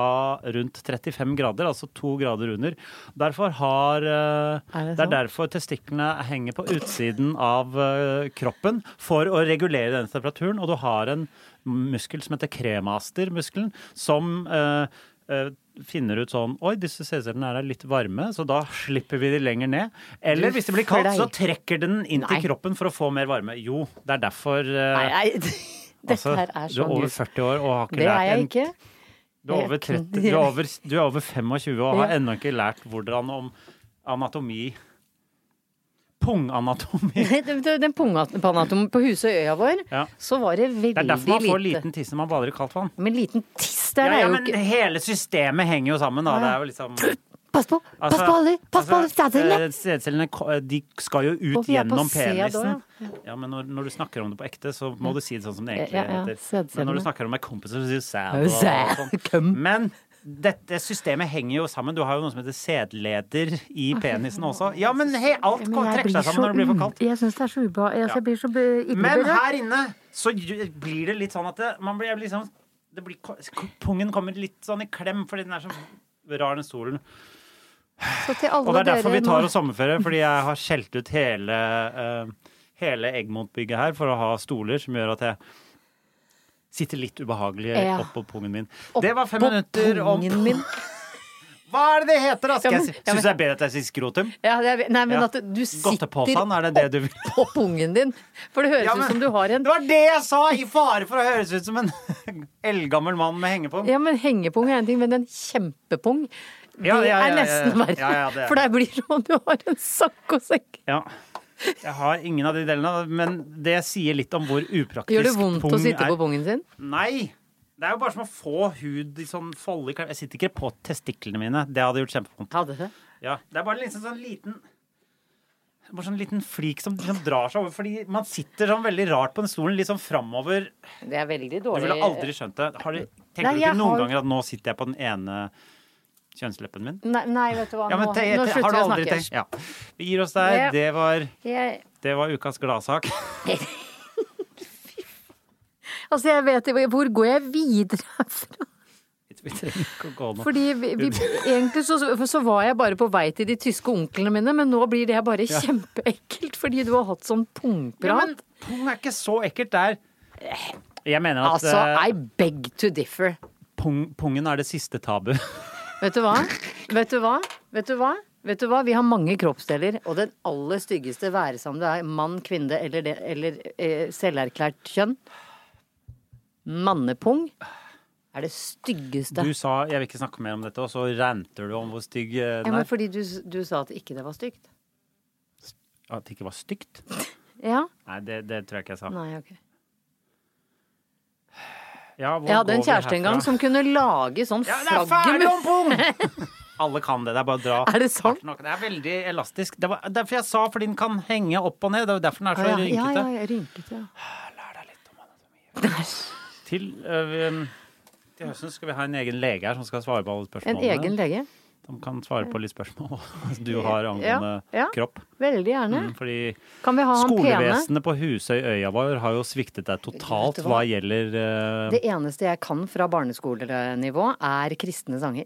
B: rundt 35 grader, altså to grader under. Derfor har eh,
A: Er det
B: Det er
A: sant?
B: derfor testiklene henger på utsiden av eh, kroppen for å regulere den temperaturen, og du har en muskel som heter kremaster-muskelen, som eh, eh, finner ut sånn Oi, disse sædcellene er litt varme, så da slipper vi de lenger ned. Eller hvis det blir kaldt, så
A: fløy.
B: trekker den inn
A: Nei.
B: til kroppen for å få mer varme. Jo, det er derfor
A: Nei,
B: eh,
A: nei. (laughs) Dette
B: altså,
A: her er
B: Du
A: så
B: er over
A: news.
B: 40 år og har ikke
A: Det er
B: lært
A: jeg
B: en-
A: ikke.
B: Du er over, 30, du er over, du er over 25 og har ennå ikke lært hvordan om anatomi
A: (laughs)
B: punganatomi.
A: Den den punganatomen på Husøyøya vår,
B: Ja.
A: så var det veldig
B: Det er derfor man får
A: lite.
B: liten tisse man bader i kaldt vann.
A: Men liten tiss der
B: Ja,
A: er
B: ja,
A: jo
B: men
A: ikke
B: hele systemet henger jo sammen, da. Det er jo liksom
A: Pass på! Pass på alle Pass på alle stedcellene!
B: Altså, eh, Sædcellene ko- de skal jo ut
A: Og vi er på
B: gjennom
A: sæd også,
B: penisen. Ja, men når, når du snakker om det på ekte, så må du si det sånn som det egentlig
A: Ja, ja,
B: heter. Men når
A: sædcellene.
B: du snakker om deg kompiser, så sier
A: Ja,
B: du sæd.
A: sæd,
B: og sånn.
A: køm.
B: Men dette systemet henger jo sammen. Du har jo noe som heter sædleder i penisen også. Ja, men hei, alt
A: Men jeg
B: trekker
A: blir
B: seg
A: så
B: sammen når det blir for
A: un-
B: kaldt.
A: Jeg syns det er så ubehag... altså, Jeg blir så be- ille
B: Men
A: berørt.
B: her inne så gj- blir det litt sånn at det, man blir jeg blir liksom det blir, ko- k- Pungen kommer litt sånn i klem fordi den er så rar, den stolen.
A: Så til alle
B: Og det er derfor
A: dere
B: vi tar
A: nå-
B: oss sommerferie, fordi jeg har skjelt ut hele, eh, hele Egmont-bygget her for å ha stoler som gjør at jeg sitter litt ubehagelig
A: Ja.
B: oppå pungen min.
A: Opp
B: Det var fem
A: på
B: minutter om
A: pungen min.
B: Hva er det det heter, da? Skal
A: Ja,
B: jeg
A: men-
B: si-
A: ja, men-
B: Syns du det er bedre at jeg sier skrotum?
A: Ja, det er, nei, men
B: Ja.
A: at du sitter
B: Godtepåsan, er det det du vil?
A: på pungen din. For det høres
B: Ja, men-
A: ut som du har en
B: Det var det jeg sa! I fare for å høres ut som en (laughs) eldgammel mann med hengepung.
A: Ja, men hengepung er en ting, men en kjempepung det
B: Ja, ja, ja,
A: er
B: ja, ja.
A: nesten verre.
B: Ja, ja, det er
A: For der blir det som om du har en sakkosekk.
B: Ja. Jeg har ingen av de delene, men det sier litt om hvor upraktisk
A: Gjør det vondt å
B: pung
A: sitte
B: er.
A: på pungen sin?
B: Nei! Det er jo bare som å få hud i sånn folde i klem. Jeg sitter ikke på testiklene mine. Det hadde gjort kjempevondt.
A: Hadde det.
B: Ja, det er bare liksom sånn liten bare sånn liten flik som liksom drar seg over. Fordi man sitter sånn veldig rart på den stolen, litt sånn framover.
A: Det er veldig
B: Du
A: dårlig.
B: ville aldri skjønt det. Har du, tenker
A: Nei,
B: du
A: jeg
B: ikke noen
A: har-
B: ganger at nå sitter jeg på den ene kjønnsleppen min?
A: Nei, nei, vet du hva.
B: Ja, men
A: nå,
B: te,
A: nå
B: te, har
A: slutter vi
B: du
A: å
B: aldri
A: snakke.
B: tenkt Ja. Vi gir oss der.
A: Ja.
B: Det var,
A: Jeg,
B: det var ukas gladsak. (laughs)
A: altså, jeg vet ikke Hvor går jeg videre herfra?
B: Vi trenger ikke å gå nå.
A: Fordi vi, vi, egentlig så, så var jeg bare på vei til de tyske onklene mine, men nå blir det bare kjempeekkelt fordi du har hatt sånn pungprat.
B: Ja, men pung er ikke så ekkelt. Det er Jeg mener at
A: altså,
B: eh,
A: I beg to differ.
B: pung, pungen er det siste tabu.
A: Vet du hva? Vet du hva? Vet du hva? Vet du hva? Vi har mange kroppsdeler, og den aller styggeste, være som du er mann, kvinne eller, det, eller eh, selverklært kjønn Mannepung er det styggeste.
B: Du sa 'jeg vil ikke snakke mer om dette', og så ranter du om hvor stygg eh,
A: ja,
B: den
A: men
B: er.
A: fordi du, du sa at ikke det var stygt.
B: At det ikke var stygt?
A: Ja?
B: Nei, det, det tror jeg ikke jeg sa.
A: Nei, ok.
B: Ja, hvor
A: Jeg hadde en
B: går vi
A: kjæreste en gang
B: herfra?
A: som kunne lage sånn
B: ja, Det er
A: flaggermus.
B: ferdig om pung! Alle kan det. Det er bare å dra.
A: (laughs) Er det sant?
B: hardt nok. Det er veldig elastisk. Det var derfor jeg sa, fordi den kan henge opp og ned. Det er jo derfor den er så
A: Ja,
B: rynkete.
A: ja, ja, ja, rynkete. Ja.
B: Lær deg litt om anatomi. Til, eh, til høsten skal vi ha en egen lege her som skal svare på alle
A: En
B: spørsmålene.
A: egen lege.
B: De kan svare på litt spørsmål (laughs) du har angående
A: Ja, ja.
B: kropp.
A: Veldig gjerne.
B: Mm, Fordi
A: Kan vi ha han pene?
B: skolevesenet på Husøy øya vår har jo sviktet deg totalt
A: Vet du
B: hva
A: hva?
B: gjelder eh,
A: Det eneste jeg kan fra barneskolenivå, er kristne sanger.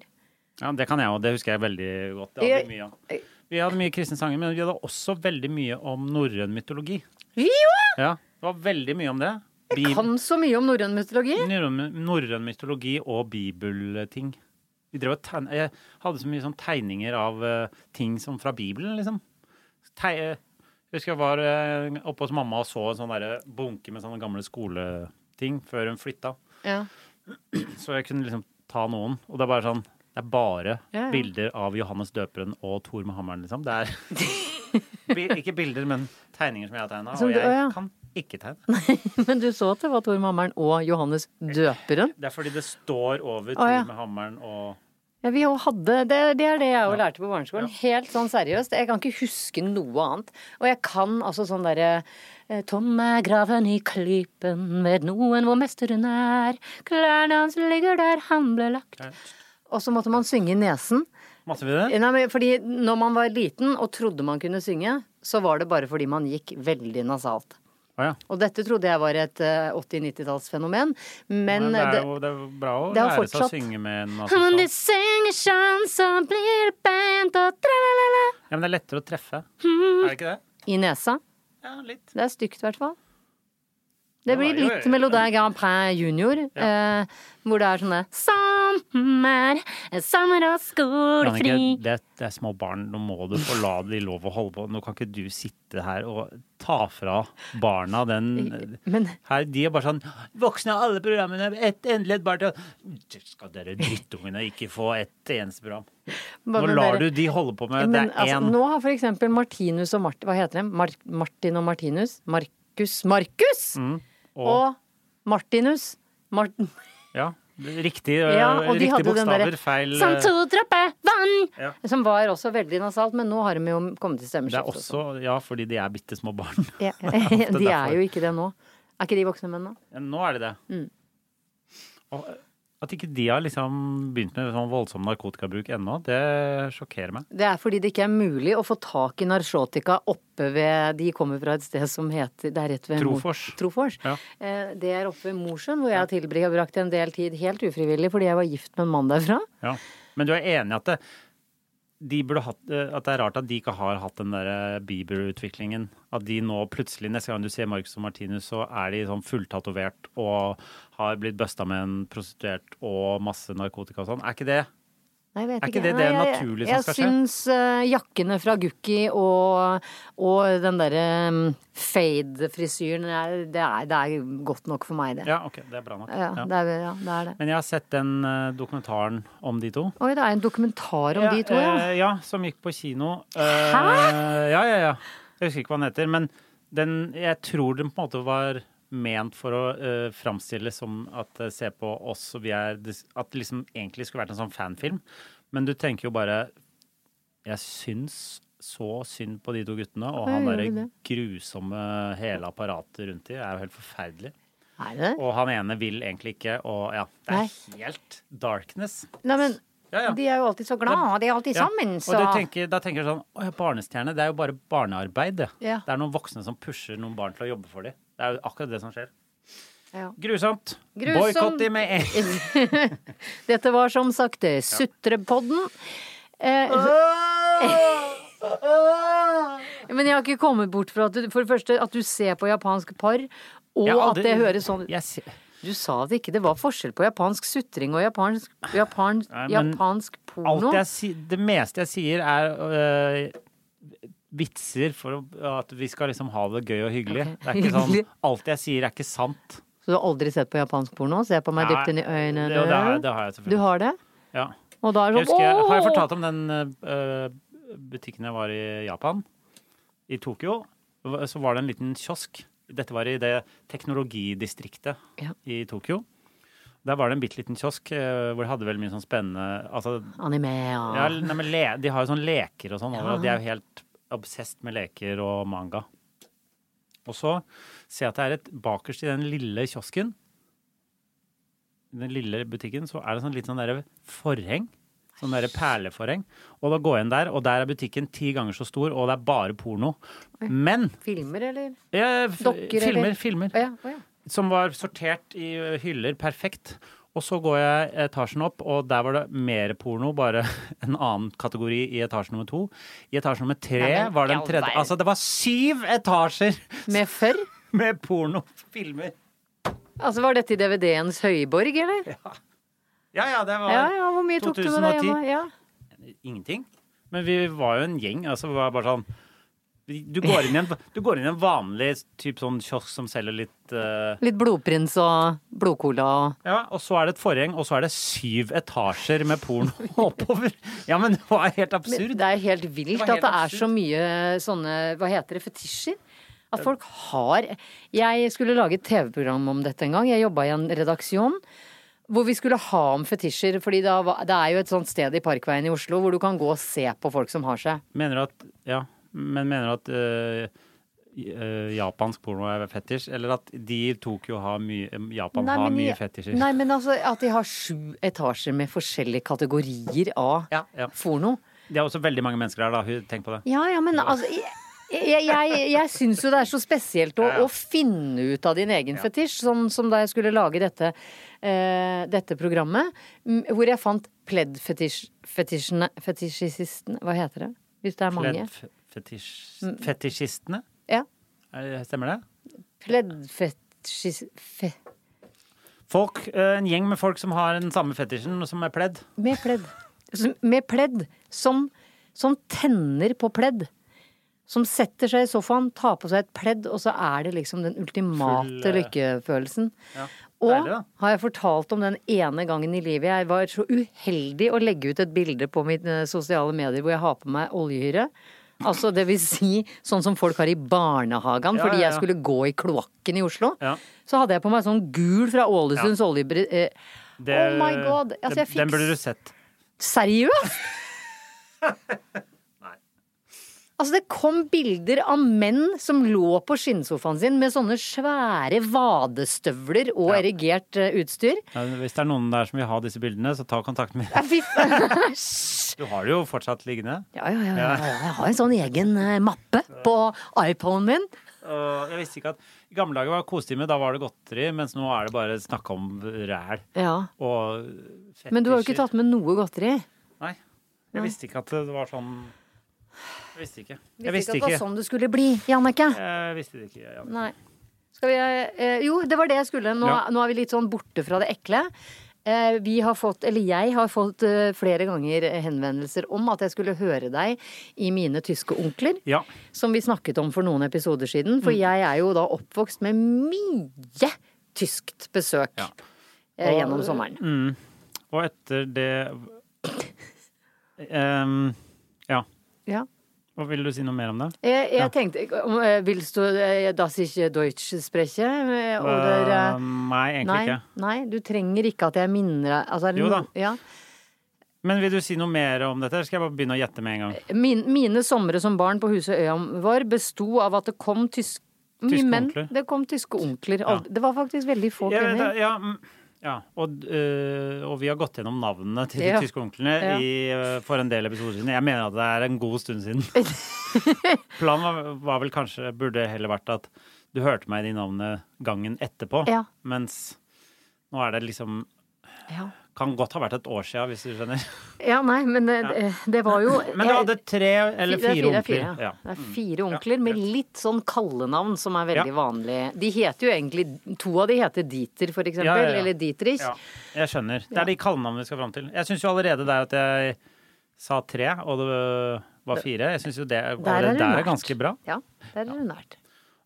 B: Ja, det kan jeg òg. Det husker jeg veldig godt. Det hadde vi mye av. Vi hadde mye kristne sanger, men vi hadde også veldig mye om norrøn mytologi. Ja, det var veldig mye om det. Bib-
A: Kan så mye om norrøn mytologi!
B: norrøn norrøn mytologi og bibelting. Vi drev og tegn- jeg hadde så mye sånn tegninger av eh, ting som fra Bibelen, liksom. Tei eh, jeg husker jeg var eh, oppe hos mamma og så en sånn derre bunke med sånne gamle skoleting før hun flytta.
A: Ja.
B: Så jeg kunne liksom ta noen. Og det er bare sånn Det er bare
A: Ja, ja.
B: bilder av Johannes døperen og Thor med hammeren, liksom. Det er
A: (laughs)
B: Bi- Ikke bilder, men tegninger som jeg har tegna.
A: Som
B: Og
A: du-
B: jeg
A: å, ja.
B: kan ikke tegne.
A: (laughs) Men du så at det var Tor Mammeren og Johannes døperen?
B: Det er fordi det står over
A: Å,
B: Thor
A: ja.
B: med hammeren og
A: Ja, vi jo hadde, det, det er det jeg jo lærte på barneskolen. Helt sånn seriøst. Jeg kan ikke huske noe annet. Og jeg kan altså sånn derre eh, Tom er graven i klypen, vet noen hvor mesteren er. Klærne hans ligger der han ble lagt. Og så måtte man synge i nesen.
B: Masse vi det?
A: Nei, men fordi når man var liten og trodde man kunne synge, så var det bare fordi man gikk veldig nasalt.
B: Å ja.
A: Og dette trodde jeg var et eh, 80-90-tallsfenomen, men,
B: Men det er
A: det- (laughs)
B: jo det er jo bra å
A: det har
B: lære seg å
A: fortsatt.
B: synge med
A: (laughs)
B: en
A: Om du
B: nasesal.
A: synger sånn, så blir det beint og tralalala
B: Ja, men det er lettere å
A: (laughs)
B: treffe. Er det ikke det?
A: I nesa.
B: Ja, litt.
A: Det er stygt, i hvert fall. Det
B: Ja,
A: blir
B: jo,
A: litt
B: jo, jo.
A: Melodin Grand Prix Junior, eh, hvor det er sånne Sommer, sommer og
B: Jannicke,
A: skolefri
B: det, det er små barn. Nå må du få la de lov å holde på. Nå kan ikke du sitte her og ta fra barna den
A: Men
B: Her, de er bare sånn Voksne av alle programmene, ett endelig et barn til. Skal dere drittungene ikke få ett eneste program? Nå lar du de holde på med Eh, det
A: Men
B: er
A: altså,
B: én
A: nå har for eksempel Martinus og Mart... Hva heter de? Mar Martin og Martinus? Markus Markus! og...
B: Mm, og
A: Martinus. Martin.
B: Ja. Riktig,
A: Ja,
B: eh,
A: og de
B: riktig
A: hadde jo den
B: bokstaver,
A: derre
B: feil eh,
A: Som to dropper vann!
B: Ja.
A: Som var også veldig nasalt, men nå har de jo kommet til
B: Det er
A: stemmeskifte.
B: også Ja, fordi de er bitte små barn. (laughs)
A: Ja. (laughs)
B: ofte
A: De
B: derfor.
A: er jo ikke det nå. Er ikke de voksne menn nå?
B: Ja, Nå er de det.
A: Mm.
B: Og eh, at ikke de har liksom begynt med sånn voldsom narkotikabruk ennå, det sjokkerer meg.
A: Det er fordi det ikke er mulig å få tak i narkotika oppe ved De kommer fra et sted som heter Det er rett ved Mo-
B: Trofors.
A: Trofors.
B: Ja.
A: Eh, Det er oppe ved Mosjøen, hvor jeg har tilbrakt en del tid helt ufrivillig fordi jeg var gift med en mann derfra.
B: Ja. Men du er enig i at det, de burde hatt, eh, at det er rart at de ikke har hatt den der eh, Bieber-utviklingen? At de nå plutselig, neste gang du ser Marcus og Martinus, så er de sånn fulltatovert og har blitt busta med en prostituert og masse narkotika og sånn. Er ikke det
A: Nei, jeg vet
B: Er ikke det det
A: Nei, jeg-
B: naturlige
A: jeg,
B: som skal skje?
A: syns eh, jakkene fra Gukki og, og den derre mm, fade-frisyren er- det, er- det er godt nok for meg, det.
B: Ja, OK, det er bra nok.
A: Ja,
B: Ja.
A: Det, er, ja, det er det.
B: Men jeg har sett den eh, dokumentaren om de to.
A: Oi, det er en dokumentar om de to, ja.
B: eh, ja, som gikk på kino. Hæ?! Ja, ja, ja. Jeg husker ikke hva den heter. Men den, jeg tror den på en måte var ment for å uh, framstille som at eh, se på oss, og vi er dis- At det liksom egentlig skulle vært en sånn fanfilm. Men du tenker jo bare Jeg syns så synd på de to guttene, og
A: Ja, gjør
B: han
A: du
B: derre
A: det?
B: grusomme hele apparatet rundt de er jo helt forferdelig.
A: Er det det?
B: Og han ene vil egentlig ikke, og ja Det er helt darkness.
A: Nei, men
B: Ja, ja.
A: de er jo alltid så glad, og de er alltid
B: Ja,
A: sammen, så
B: Og du tenker, da tenker du sånn Å ja, barnestjerne, det er jo bare barnearbeid, det.
A: Ja.
B: Det er noen voksne som pusher noen barn til å jobbe for dem. Det er jo akkurat det som skjer.
A: Ja. (laughs)
B: Grusomt.
A: Grusomt.
B: Boikott de
A: (laughs)
B: med en
A: Dette var som sagt eh, Sutrepodden. Eh, men jeg har ikke kommet bort fra at du, for det første, at du ser på japansk par, og
B: Jeg har
A: at
B: aldri-
A: det høres sånn
B: Jeg ser-
A: Du sa det ikke, det var forskjell på japansk sutring og japansk, japan,
B: Nei, men
A: japansk porno.
B: Alt jeg si, det meste jeg sier, er øh, vitser for å, at vi skal liksom ha det gøy og hyggelig.
A: Ok.
B: Det er ikke
A: Hyggelig.
B: sånn Alt jeg sier, er ikke sant.
A: Så du har aldri sett på japansk porno? Se på meg
B: Nei,
A: dypt inn i øynene.
B: det- det har jeg- det har jeg selvfølgelig.
A: Du har det?
B: Ja.
A: Og da er
B: Jeg
A: det
B: husker,
A: sånn
B: jeg- har jeg
A: «Åh!»
B: fortalt om den eh, butikken jeg var i Japan? I Tokyo. Så var det en liten kiosk. Dette var i det teknologidistriktet
A: Ja.
B: i Tokyo. Der var det en bitte liten kiosk eh, hvor de hadde veldig mye sånn spennende altså,
A: Anime og
B: ja, nei, men le, De har jo sånne leker og sånn. overalt. De er jo helt obsesst med leker og manga. Og så ser jeg at det er et bakerst i den lille kiosken, i den lille butikken, så er det sånn litt sånn derre forheng. Sånn derre perleforheng. Og da går jeg inn der, og der er butikken ti ganger så stor, og det er bare porno. Men
A: filmer, eller?
B: jeg,
A: Dokker, eller?
B: Filmer, filmer
A: Å ja, å ja.
B: som var sortert i ø, hyller perfekt. Og så går jeg etasjen opp, og der var det mer porno, bare (laughs) en annen kategori i etasje nummer to. I etasje nummer tre
A: Nei, men
B: var
A: i
B: det
A: all
B: en tredje
A: verden.
B: Altså, det var syv etasjer (laughs)
A: Med før?
B: med pornofilmer!
A: Altså, var dette i DVD-ens høyborg, eller?
B: Ja ja, det var
A: Ja, ja, hvor mye tok du med deg
B: 2010.
A: hjemme? Ja.
B: ingenting. Men vi var jo en gjeng. Altså, det var bare sånn Du går inn i en, du går inn i en vanlig typ sånn kiosk som selger litt eh, ø,
A: Litt blodprins og blodcola og
B: Ja, og så er det et forheng, og så er det syv etasjer med porno
A: (laughs)
B: oppover. Ja, men det var helt absurd.
A: Det er helt vilt
B: Det
A: at
B: var helt
A: det er så
B: absurd.
A: mye sånne, hva heter det, fetisjer? At folk har Jeg skulle lage et TV-program om dette en gang. Jeg jobba i en redaksjon. Hvor vi skulle ha om fetisjer, fordi da var- det er jo et sånt sted i Parkveien i Oslo hvor du kan gå og se på folk som har seg.
B: Mener du at Ja, men mener du at øh, øh, japansk porno er fetisj, eller at de i Tokyo har mye eh, Japan har mye fetisjer?
A: Nei, men altså at de har sju etasjer med forskjellige kategorier av
B: Ja, ja.
A: porno.
B: Det er også veldig mange mennesker her, da. Hu- Tenk på det.
A: Ja, ja, men altså Jeg, jeg, jeg, jeg syns jo det er så spesielt å,
B: Ja, ja.
A: å finne ut av din egen fetisj, sånn som da jeg skulle lage dette, eh, dette programmet, m, hvor jeg fant pledd-fetisjene Fetisjistene Hva heter det? Hvis det er mange?
B: Pledd fetisj, fetisjistene?
A: Ja.
B: Er- Stemmer det?
A: Pleddfetisjis... Fe,
B: Folk, øh, en gjeng med folk som har den samme fetisjen, som er pledd.
A: med pledd. Som- Med pledd. Som, som tenner på pledd. Som setter seg i sofaen, tar på seg et pledd, og så er det liksom den ultimate
B: Full, eh,
A: lykkefølelsen. Og
B: Deilig, da.
A: har jeg fortalt om den ene gangen i livet jeg var så uheldig å legge ut et bilde på mine sosiale medier hvor jeg har på meg oljehyre. Altså det vil si sånn som folk har i barnehagen
B: Ja,
A: fordi
B: ja, ja.
A: jeg skulle gå i kloakken i Oslo.
B: Ja.
A: Så hadde jeg på meg sånn gul fra Ålesunds oljebre... eh,
B: Det-
A: oh my god! Altså jeg
B: den- Den
A: fikk
B: burde du sett.
A: (laughs) Seriøst? Altså Det kom bilder av menn som lå på skinnsofaen sin med sånne svære vadestøvler og erigert eh, utstyr.
B: Ja, Hvis det er noen der som vil ha disse bildene, så ta kontakt med
A: Ja, fy f-
B: Du har det jo fortsatt liggende.
A: (laughs) ja, ja, ja, ja. Jeg har en sånn egen eh, mappe på iPonen min.
B: Og jeg visste ikke at I gamle dager var det kosetime, da var det godteri, mens nå er det bare snakke om ræl
A: Ja.
B: og fetisjer.
A: Men du har jo ikke tatt med noe godteri.
B: Nei. Jeg visste ikke at det var sånn Jeg visste ikke. Jeg
A: Visste
B: visste
A: ikke at det
B: ikke.
A: var sånn det skulle bli, Jannicke.
B: Jeg visste det ikke. Ja.
A: Nei. Skal vi eh, Jo, det var det jeg skulle. Nå,
B: Ja.
A: nå er vi litt sånn borte fra det ekle. Eh, vi har fått, eller jeg har fått eh, flere ganger henvendelser om at jeg skulle høre deg i mine tyske onkler.
B: Ja. Mm.
A: Som vi snakket om for noen episoder siden. For jeg er jo da oppvokst med mye tyskt besøk
B: Ja. mm.
A: eh, gjennom sommeren.
B: Og etter det Ehm, Ja.
A: Ja.
B: Hva Vil du si noe mer om det?
A: Jeg, jeg tenkte om, eh, Willst du eh, das ich Deutsch spreche? eh, Oder eh,
B: Eh, nei, egentlig
A: nei,
B: ikke.
A: nei, du trenger ikke at jeg minner deg altså, er det
B: Jo
A: no-
B: da.
A: Ja.
B: Men vil du si noe mer om dette? eller Skal jeg bare begynne å gjette med en gang?
A: Min, mine somre som barn på huset øya vår besto av at det kom tysk... mye menn.
B: onkler.
A: Det kom tyske onkler. Ald- Det var faktisk veldig få
B: Jeg vet
A: kvinner.
B: det, ja, mm, ja. Og, øh, og vi har gått gjennom navnene til
A: Ja.
B: de tyske onklene
A: Ja.
B: i, øh, for en del episoder siden. Jeg mener at det er en god stund siden.
A: (laughs)
B: Planen var, var vel kanskje Burde heller vært at du hørte meg i de navnene gangen etterpå.
A: Ja.
B: Mens nå er det liksom
A: Ja.
B: Kan godt ha vært et år sia, hvis du skjønner.
A: (laughs) ja, nei, men eh, det, det var jo
B: Men du hadde tre eller
A: Det er
B: fire
A: det er
B: onkler.
A: fire, ja.
B: Ja.
A: Det er fire onkler med litt sånn kallenavn som er veldig
B: Ja.
A: vanlige. De heter jo egentlig To av de heter Dieter, for eksempel.
B: Ja, ja, ja.
A: Eller Dietrich.
B: Ja, jeg skjønner. Det er de kallenavnene vi skal fram til. Jeg syns jo allerede der at jeg sa tre, og det var fire. Jeg synes jo det
A: er
B: allerede
A: det
B: der
A: nært.
B: er ganske bra.
A: Ja, der er det nært.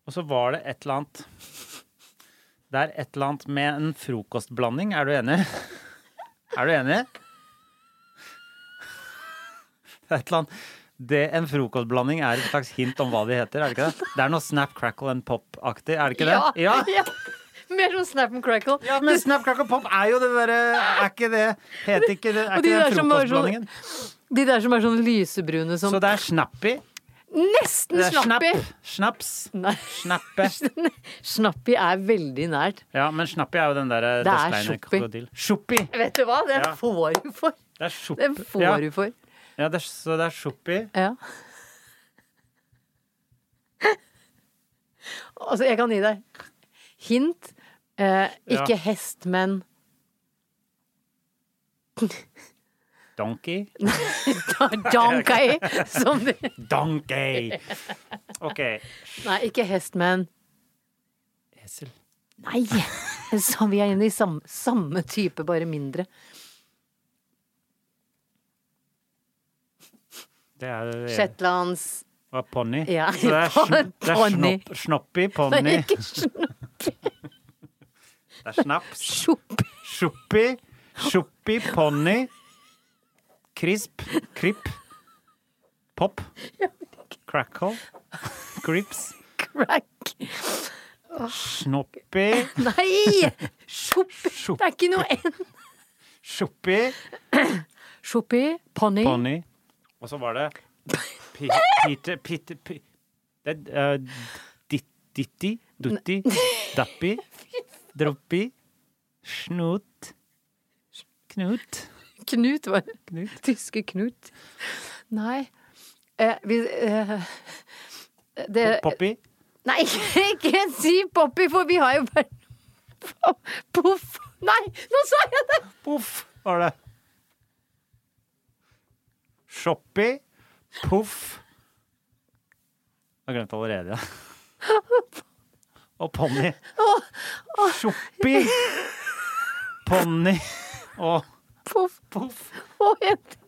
B: Og så var det et eller annet Det er et eller annet med en frokostblanding. Er du enig? Er du enig? Det er et eller annet det, En frokostblanding er et slags hint om hva de heter, er det ikke det? Det er noe Snap Crackle and Pop-aktig, er det ikke
A: (laughs)
B: det?
A: Ja, ja. Mer sånn Snap and Crackle.
B: Ja, men Snap Crackle and Pop er jo det derre Er ikke det Heter ikke det Er
A: Og de
B: ikke det
A: der
B: den
A: som bare sånn-
B: frokostblandingen?
A: De der som er sånn lysebrune som
B: Så det er Snappy.
A: Nesten
B: Det er snapp.
A: Snappy!
B: (laughs) Snaps.
A: Nei.
B: Snappe.
A: Snappy er veldig nært.
B: Ja, men Snappy er jo den derre
A: Det er
B: dørsteinen-
A: Shoppi.
B: krokodil. Shoppi.
A: Vet du hva? Den
B: Ja.
A: får du for.
B: Det er Shoppi.
A: Den får
B: ja.
A: du for.
B: Ja, det er, så det er Shoppi.
A: Ja. Altså, jeg kan gi deg hint. Eh,
B: Ja.
A: ikke hest, men
B: Donkey.
A: donkey. Som det.
B: Donkey! OK.
A: Nei, ikke hest, men
B: Esel.
A: Nei! Så vi er inne i samme, samme type, bare mindre.
B: Det er
A: Shetlands
B: var ponni.
A: Ja, (laughs)
B: Så det er, sn det er
A: ponni.
B: snopp, snoppi,
A: Nei, (laughs)
B: ponni.
A: ikke snopp.
B: Det er snaps.
A: Sjopp.
B: Shoppi. Shoppi, ponni. Krisp. Kripp. Pop. Crackle. Grips.
A: Crack.
B: Snoppi.
A: Nei! Sjopp.
B: Sjopp.
A: Det er ikke noe N.
B: Shoppi.
A: Sjoppi. Ponni.
B: Ponni. Og så var det Pi- Peter Peter Pi- Det er eh, dit, Ditti, Dutti, Dappi, Droppi, Snut, Knut
A: Knut var det.
B: Knut.
A: Tyske Knut. Nei. Eh, vi eh, det,
B: Poppy.
A: Nei, (laughs) ikke si Poppy, for vi har jo bare Po- Poff. Nei, nå sa jeg det!
B: Poff, var det. Shoppi, Poff Jeg har glemt allerede, ja. Og Ponni. Shoppi, Ponni og
A: Poff.
B: Poff.
A: Å, jeg-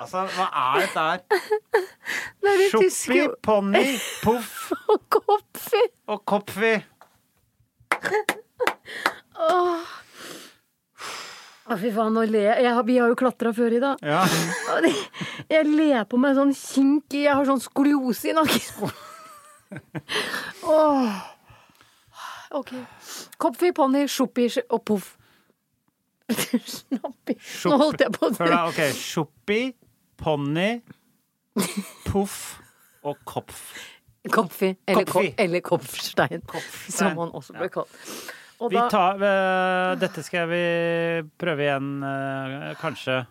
B: Altså, hva er dette her?
A: Det er det
B: Sjoppi,
A: tyske
B: ponni, poff
A: og Kopfi.
B: og kopfi.
A: Å, Å, fy faen, nå ler jeg. jeg. har- Vi har jo klatra før i dag.
B: Ja.
A: Og det- Jeg ler på meg sånn kink i Jeg har sånn skoliose i nakken. Åh. OK. Kopfi, ponni, sjoppi sj- og poff. Snoppi. Nå holdt jeg på å
B: Hør da, ok. Sjoppi, ponni, poff og kopf.
A: Kopfi. Eller,
B: Kopfi.
A: Kopfi. eller kopfstein, som han også ble kalt. Og
B: Vi
A: da
B: tar, eh, dette skal vi prøve igjen, eh, kanskje,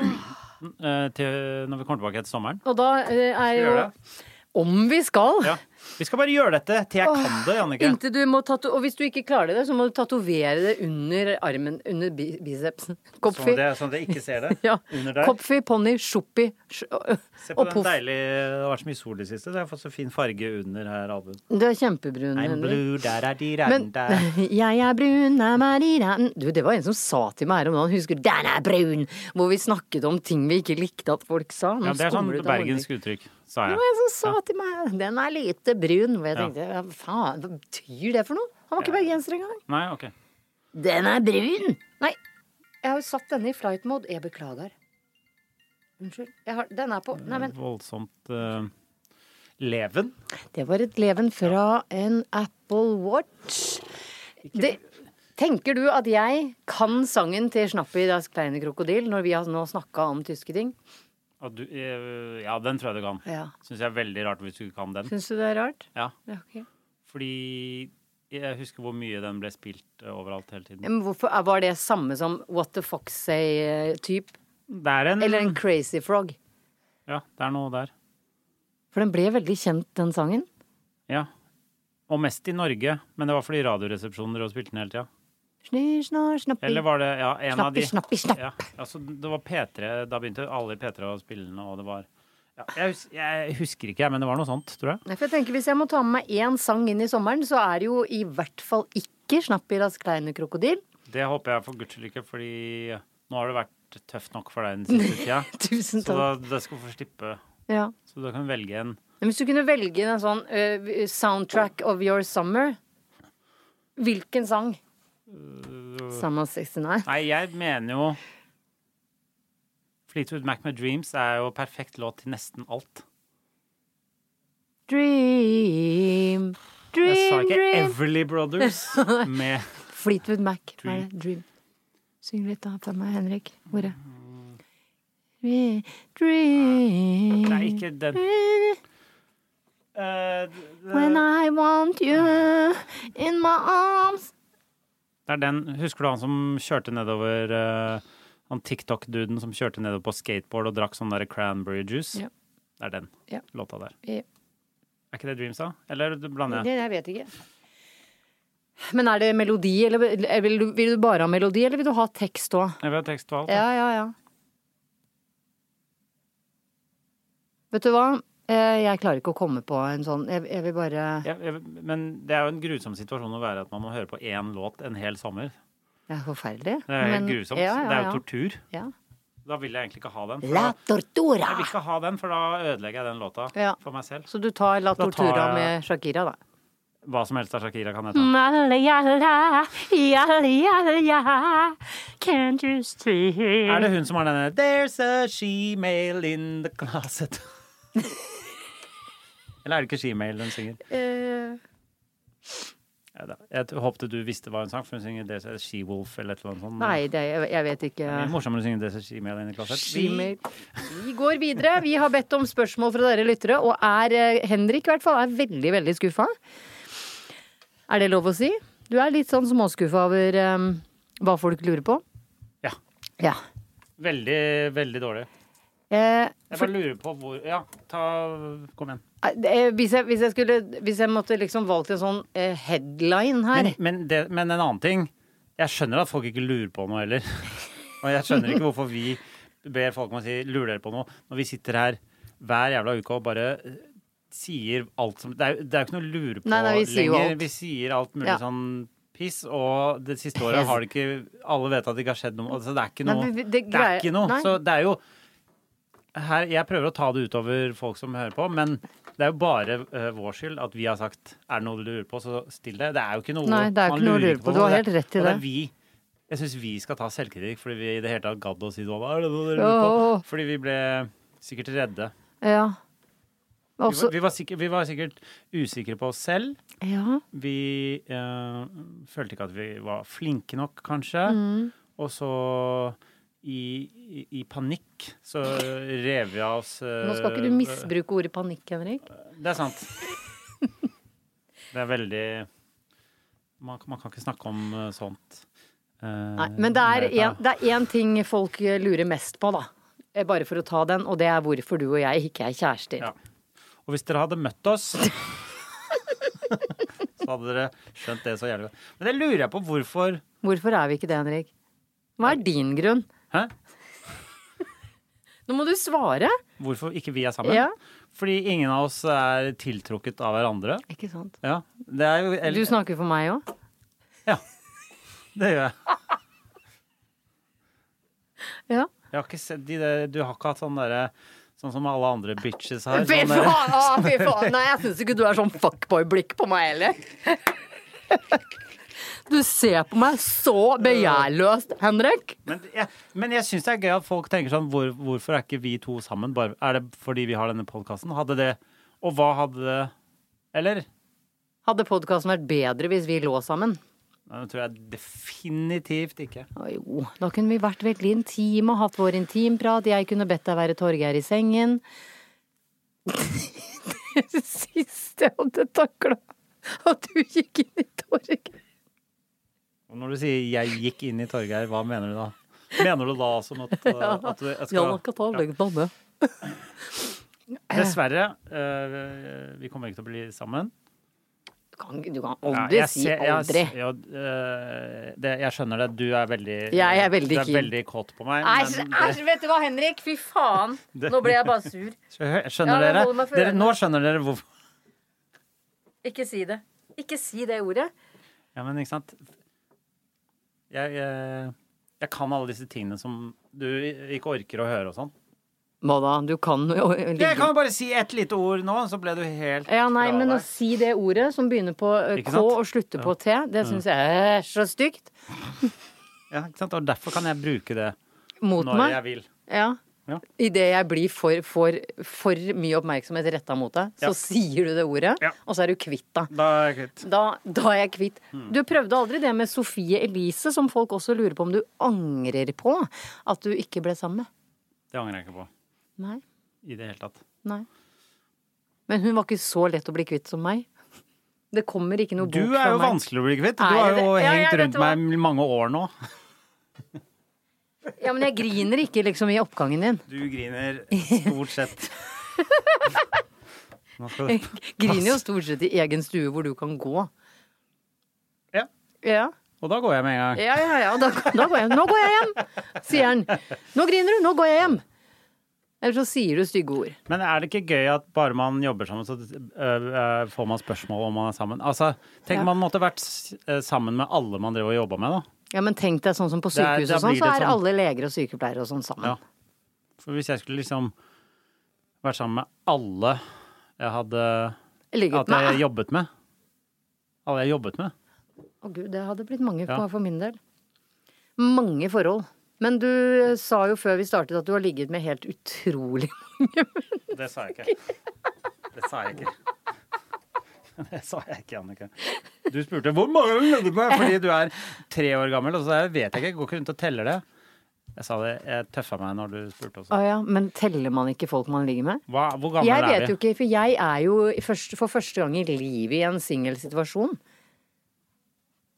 B: eh, til, når vi kommer tilbake etter sommeren.
A: Og da eh, er
B: Skal vi
A: jo
B: gjøre det?
A: Om vi skal!
B: Ja. Vi skal bare gjøre dette til jeg kan det, Jannicke.
A: Inntil du må tato og hvis du ikke klarer det, så må du tatovere det under armen, under bi bicepsen.
B: Sånn
A: Kopfi.
B: at, jeg, sånn at jeg ikke ser det
A: (laughs) Ja.
B: under der.
A: Kopfi, ponni, sjoppi sj- øh,
B: Se på
A: og
B: den
A: poff.
B: deilige Det har vært så mye sol i det siste, så jeg har fått så fin farge under her albuen.
A: Du er kjempebrun,
B: I'm
A: Henrik.
B: blue, da da di
A: Men (laughs) jeg er brun, jeg er marira Du, det var en som sa til meg her om dagen, husker du, den er brun! Hvor vi snakket om ting vi ikke likte at folk sa. Nå
B: Ja, det er sånn
A: skummer det ut av hodet mitt.
B: bergensk uttrykk, sa
A: Det
B: jeg.
A: var en som sa til meg den er lite brun. Og jeg tenkte hva faen, hva betyr det for noe? Han var ikke bergenser engang.
B: Nei, ok.
A: Den er brun! Nei, jeg har jo satt denne i flight mode. Jeg beklager. Unnskyld. Jeg har, den er på Nei, men
B: Voldsomt eh, leven.
A: Det var et leven fra en Apple Watch. Det, tenker du at jeg kan sangen til Snappi das kleine krokodil når vi har nå snakka om tyske ting?
B: Og du, eh, ja, den tror jeg du kan.
A: Ja.
B: Syns jeg er veldig rart hvis du ikke kan den.
A: Syns du det er rart?
B: Ja,
A: Ja, ok.
B: fordi jeg husker hvor mye den ble spilt eh, overalt hele tiden.
A: Men hvorfor, er- var det samme som What the Fox Say-type?
B: Det er en
A: Eller en Crazy Frog?
B: Ja, det er noe der.
A: For den ble veldig kjent, den sangen.
B: Ja. Og mest i Norge, men det var fordi Radioresepsjonen drev og spilte den hele tida.
A: Sni, sna, snappi.
B: Eller var det ja, en av de
A: Snappi, snappi, snapp.
B: Ja, altså, det var P3, da begynte alle i P3 å spille den, og det var ja, jeg, hus jeg husker ikke, jeg, men det var noe sånt, tror jeg.
A: Nei, for jeg tenker Hvis jeg må ta med meg én sang inn i sommeren, så er det jo i hvert fall ikke Snappi das kleine krokodil. (laughs)
B: Det håper jeg for guds skyld ikke, fordi nå har det vært tøft nok for deg den siste tida.
A: (laughs) Tusen
B: Så
A: takk.
B: da, da skal du få slippe.
A: Ja.
B: Så du kan velge en
A: Men hvis du kunne velge en sånn ø, soundtrack of your summer, hvilken sang?
B: Øh.
A: Summer of 69.
B: Nei, jeg mener jo Fleetwood Mac med Dreams er jo perfekt låt til nesten alt.
A: Dream,
B: Jeg sa
A: dream,
B: ikke
A: dream.
B: Everly
A: (laughs)
B: Brothers med
A: Fleetwood Mac. Hva er
B: Dream.
A: det? Dream. Syng litt da for meg, Henrik. Ordet.
B: Mm.
A: Dream. dream.
B: Nei, ikke den. Eh,
A: When I want you in my arms.
B: Det er den. Husker du han som kjørte nedover eh, Han TikTok-duden som kjørte nedover på skateboard og drakk sånn der cranberry juice?
A: Ja.
B: Det er den
A: Ja.
B: låta der.
A: Ja.
B: Er ikke det Dreams, da? Eller blander jeg?
A: Det, jeg vet ikke. Men er det melodi, eller eller vil du, vil du bare ha melodi, eller vil du ha tekst òg?
B: Jeg vil ha tekst og alt.
A: Ja, ja, ja. Vet du hva? Eh, Jeg klarer ikke å komme på en sånn Jeg, jeg vil bare
B: Jeg, jeg, men det er jo en grusom situasjon å være at man må høre på én låt en hel sommer.
A: Det er forferdelig.
B: Det er jo helt
A: men-
B: grusomt.
A: Ja,
B: Det er
A: ja,
B: jo tortur.
A: ja.
B: Da vil jeg egentlig ikke ha den. For
A: La
B: da,
A: tortura!
B: jeg vil ikke ha den, for da ødelegger jeg den låta
A: Ja.
B: for meg selv.
A: Så du tar La
B: Da tar
A: tortura
B: jeg-
A: med Shakira, da.
B: Hva som helst av Shakira kan hete.
A: Jalla, jalla, jalla, jalla. Can't you see
B: Er det hun som har denne There's a shemale in the closet?
A: (laughs)
B: Eller er det ikke shemale hun synger?
A: Eh,
B: Ja, da. Jeg håpte du visste hva hun sang, for hun synger There's a she-wolf eller et eller annet sånt.
A: Nei, det, jeg, jeg vet ikke.
B: Det er morsommere å synge There's a shemale in the closet.
A: Skimer. Vi går videre. Vi har bedt om spørsmål fra dere lyttere, og er eh, Henrik i hvert fall er veldig, veldig skuffa. Er det lov å si? Du er litt sånn småskuffa over eh, hva folk lurer på.
B: Ja.
A: Ja.
B: Veldig, veldig dårlig.
A: Eh,
B: Jeg bare lurer på hvor Ja, ta Kom igjen.
A: eh, hvis, jeg, hvis jeg skulle Hvis jeg måtte liksom valgt en sånn eh, headline her
B: Men, men, det, men en annen ting. Jeg skjønner at folk ikke lurer på noe heller. (laughs) Og jeg skjønner ikke hvorfor vi ber folk om å si 'lurer dere på noe', når vi sitter her hver jævla uke og bare eh, sier alt som Det er, jo- det er jo ikke noe å lure på
A: Nei, nei, vi sier jo
B: lenger.
A: alt.
B: Vi sier alt mulig
A: Ja.
B: sånn piss, og det siste året har det ikke Alle vet at det ikke har skjedd noe. Altså, det er ikke
A: Nei,
B: noe.
A: men vi- det
B: det, er
A: greier-
B: ikke noe.
A: nei.
B: Så det er jo her, jeg prøver å ta det utover folk som hører på, men det er jo bare eh, vår skyld at vi har sagt er det noe du lurer på, så still det. Det er jo ikke noe
A: Nei, det er
B: man
A: ikke noe å
B: lurer
A: lure på. Du har
B: og
A: helt rett i
B: og
A: det.
B: er vi, jeg syns vi skal ta selvkritikk fordi vi i det hele tatt gadd å si noe. Hva er det noe dere lurer
A: Åh.
B: på? Fordi vi ble sikkert redde.
A: Ja.
B: Vi var,
A: Også,
B: vi var, sikkert, vi var sikkert usikre på oss selv.
A: ja.
B: Vi eh, følte ikke at vi var flinke nok, kanskje.
A: Mm.
B: Og så i, i, i panikk så rev vi av oss eh,
A: Nå skal ikke du misbruke ordet panikk, Henrik.
B: Det er sant. Det er veldig Man, man kan ikke snakke om eh, sånt. eh,
A: Mm, Nei, men det er,
B: mer,
A: en, det er én ting folk eh, lurer mest på, da. Eh, Bare for å ta den, og det er hvorfor du og jeg ikke er kjærester.
B: Ja. Og hvis dere hadde møtt oss Så hadde dere skjønt det så jævlig godt. Men det lurer jeg på hvorfor
A: Hvorfor er vi ikke det, Henrik? Hva er din grunn?
B: Hæ?
A: Nå må du svare!
B: Hvorfor ikke vi er sammen?
A: Ja.
B: Fordi ingen av oss er tiltrukket av hverandre.
A: Ikke sant?
B: Ja, det er jo
A: Du
B: eller,
A: snakker for meg òg.
B: Ja, det gjør jeg.
A: Ja.
B: Jeg har ikke sett de der, Du har ikke hatt sånn derre Sånn som alle andre bitches har.
A: Fy
B: Sånn derre-
A: faen! Å, fy faen. Nei, jeg syns ikke du er sånn fuckboy-blikk på meg heller. Du ser på meg så begjærløst, Henrik.
B: men jeg, men jeg syns det er gøy at folk tenker sånn hvor, Hvorfor er ikke vi to sammen? Bare, er det fordi vi har denne podkasten? Hadde det Og hva hadde det Eller?
A: Hadde podkasten vært bedre hvis vi lå sammen?
B: Nei, Det tror jeg definitivt ikke.
A: Å, Jo, da kunne vi vært veldig intime og hatt vår intimprat. Jeg kunne bedt deg være Torgeir i sengen. (laughs) Det siste jeg hadde takla, at du gikk inn i Torgeir.
B: Og når du sier 'jeg gikk inn i Torgeir', hva mener du da? Mener du da som
A: (laughs)
B: at, uh, at du, jeg
A: Ja,
B: skal
A: man kan ta og legge banne.
B: Dessverre. eh, vi kommer ikke til å bli sammen.
A: Du kan, du kan
B: Ja,
A: aldri
B: jeg
A: si
B: ser- jeg-
A: aldri.
B: ja, eh, det, jeg skjønner det. Du er veldig
A: Jeg er veldig
B: du er
A: keen.
B: veldig kåt på meg.
A: Æsj,
B: men
A: æsj,
B: det,
A: altså, vet du hva, Henrik? Fy faen.
B: Det-
A: Nå ble jeg bare sur.
B: skjønner
A: Ja, jeg
B: dere?
A: holder meg for
B: dere?
A: ørene.
B: Nå skjønner dere hvorfor
A: Ikke si det. Ikke si det ordet.
B: Ja, men ikke sant? Jeg, jeg, jeg kan alle disse tingene som du ikke orker å høre og sånn.
A: Hva da? Du kan jo
B: Jeg kan
A: ligge
B: jo bare si ett lite ord nå, så ble du helt
A: ja, nei,
B: fra
A: men å
B: deg.
A: si det ordet som begynner på eh,
B: Ikke
A: K
B: sant?
A: og slutter på T, det syns jeg er så stygt.
B: Ja, ikke sant? Og derfor kan jeg bruke det
A: Mot
B: når
A: meg.
B: jeg vil.
A: Ja.
B: Ja.
A: Idet jeg blir for, for, for mye oppmerksomhet retta mot deg, så
B: Ja.
A: sier du det ordet,
B: Ja.
A: og så er du kvitt det.
B: Da er jeg kvitt.
A: Da, da er jeg kvitt.
B: Mm.
A: Du prøvde aldri det med Sofie Elise, som folk også lurer på om du angrer på at du ikke ble sammen med.
B: Det angrer jeg ikke på
A: Nei.
B: i det hele tatt.
A: Nei. Men hun var ikke så lett å bli kvitt som meg. Det kommer ikke noe
B: Du
A: bok
B: er
A: fra
B: jo
A: meg.
B: vanskelig å bli kvitt.
A: Er
B: Du har
A: det
B: jo
A: det? Ja,
B: hengt
A: jeg vet
B: rundt
A: hva.
B: meg i mange år nå.
A: Ja, men jeg griner ikke liksom i oppgangen
B: (laughs)
A: din.
B: (laughs)
A: (laughs)
B: Du griner stort sett. Nå skal du
A: Griner jo stort sett i egen stue hvor du kan gå.
B: Ja.
A: Ja,
B: Og da går jeg med en gang.
A: ja, ja. ja. Da, da går jeg, nå går jeg hjem, sier han. Nå griner du, nå går jeg hjem. Eller så sier du stygge ord.
B: Men er det ikke gøy at bare man jobber sammen, så øh, øh, får man spørsmål om man er sammen? Altså, Tenk
A: Ja.
B: om man måtte vært s- øh, sammen med alle man drev og jobba med, da.
A: Ja, men tenk deg sånn som på
B: Det er-
A: sykehus
B: da
A: og sånn,
B: blir
A: så
B: det
A: er
B: sånn.
A: alle leger og sykepleiere og sånn sammen.
B: Ja. For hvis jeg skulle liksom vært sammen med alle jeg hadde
A: Ligget
B: At jeg
A: med.
B: jobbet med. Alle jeg jobbet med.
A: Å gud, det hadde blitt mange
B: Ja.
A: for- for min del. Mange forhold. Men du eh, sa jo før vi startet at du har ligget med helt utrolig (laughs)
B: Det sa jeg ikke. Det sa jeg ikke. (laughs) Det sa jeg ikke, Annike. Du spurte hvor mange du levde med fordi du er tre år gammel, og så er jeg- vet jeg ikke. Jeg går ikke rundt og teller det. Jeg sa det, jeg tøffa meg når du spurte også.
A: Å ja, men teller man ikke folk man ligger med?
B: Hva, hvor gammel
A: Jeg
B: er
A: vet
B: vi?
A: jo ikke, for jeg er jo i først- for første gang i livet i en singelsituasjon.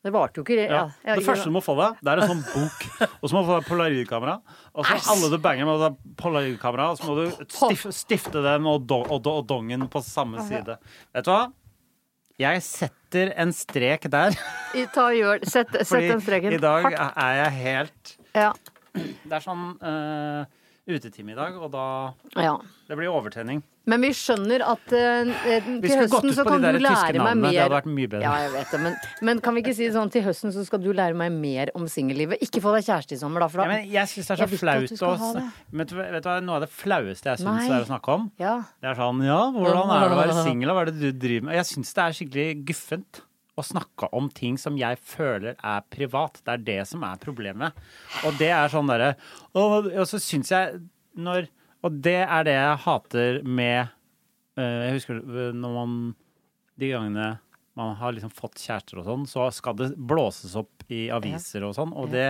A: Det varte jo ikke
B: Ja.
A: ja,
B: Det første du må få deg, det er en sånn bok, og så må du få deg polaroidkamera. Og så alle du banger med, må ha polaroidkamera, og så må du stif, stifte den og, do, og, do, og dongen på samme side. Vet du hva? Jeg setter en strek der. (laughs)
A: Ta og gjør Sett, sett den streken.
B: i dag
A: Hardt.
B: er jeg helt
A: Ja.
B: Det er sånn eh, utetime i dag, og da
A: Ja.
B: Det blir overtenning.
A: Men vi skjønner at eh, eh,
B: Vi
A: til
B: skulle gått
A: høsten
B: ut
A: så
B: på
A: kan
B: de der
A: du
B: tyske
A: lære meg
B: navnene.
A: mer.
B: Det hadde vært mye bedre.
A: Ja, jeg vet det. Men, men kan vi ikke si det sånn til høsten så skal du lære meg mer om singellivet? Ikke få deg kjæreste i sommer, da. For
B: Ja,
A: da
B: men jeg syns det er
A: Jeg
B: så
A: vil ikke at
B: flaut
A: du
B: å
A: skal ha det.
B: Men vet du hva- vet du hva, Noe av det flaueste jeg syns
A: Nei.
B: er å snakke om,
A: ja.
B: det er sånn Ja, hvordan er det
A: (laughs)
B: å være singel, og hva er det du driver med? Jeg syns det er skikkelig guffent å snakke om ting som jeg føler er privat. Det er det som er problemet. Og det er sånn derre Og, og så syns jeg når Og det er det jeg hater med eh, Jeg husker eh, når man de gangene man har liksom fått kjærester og sånn, så skal det blåses opp i aviser og sånn, og det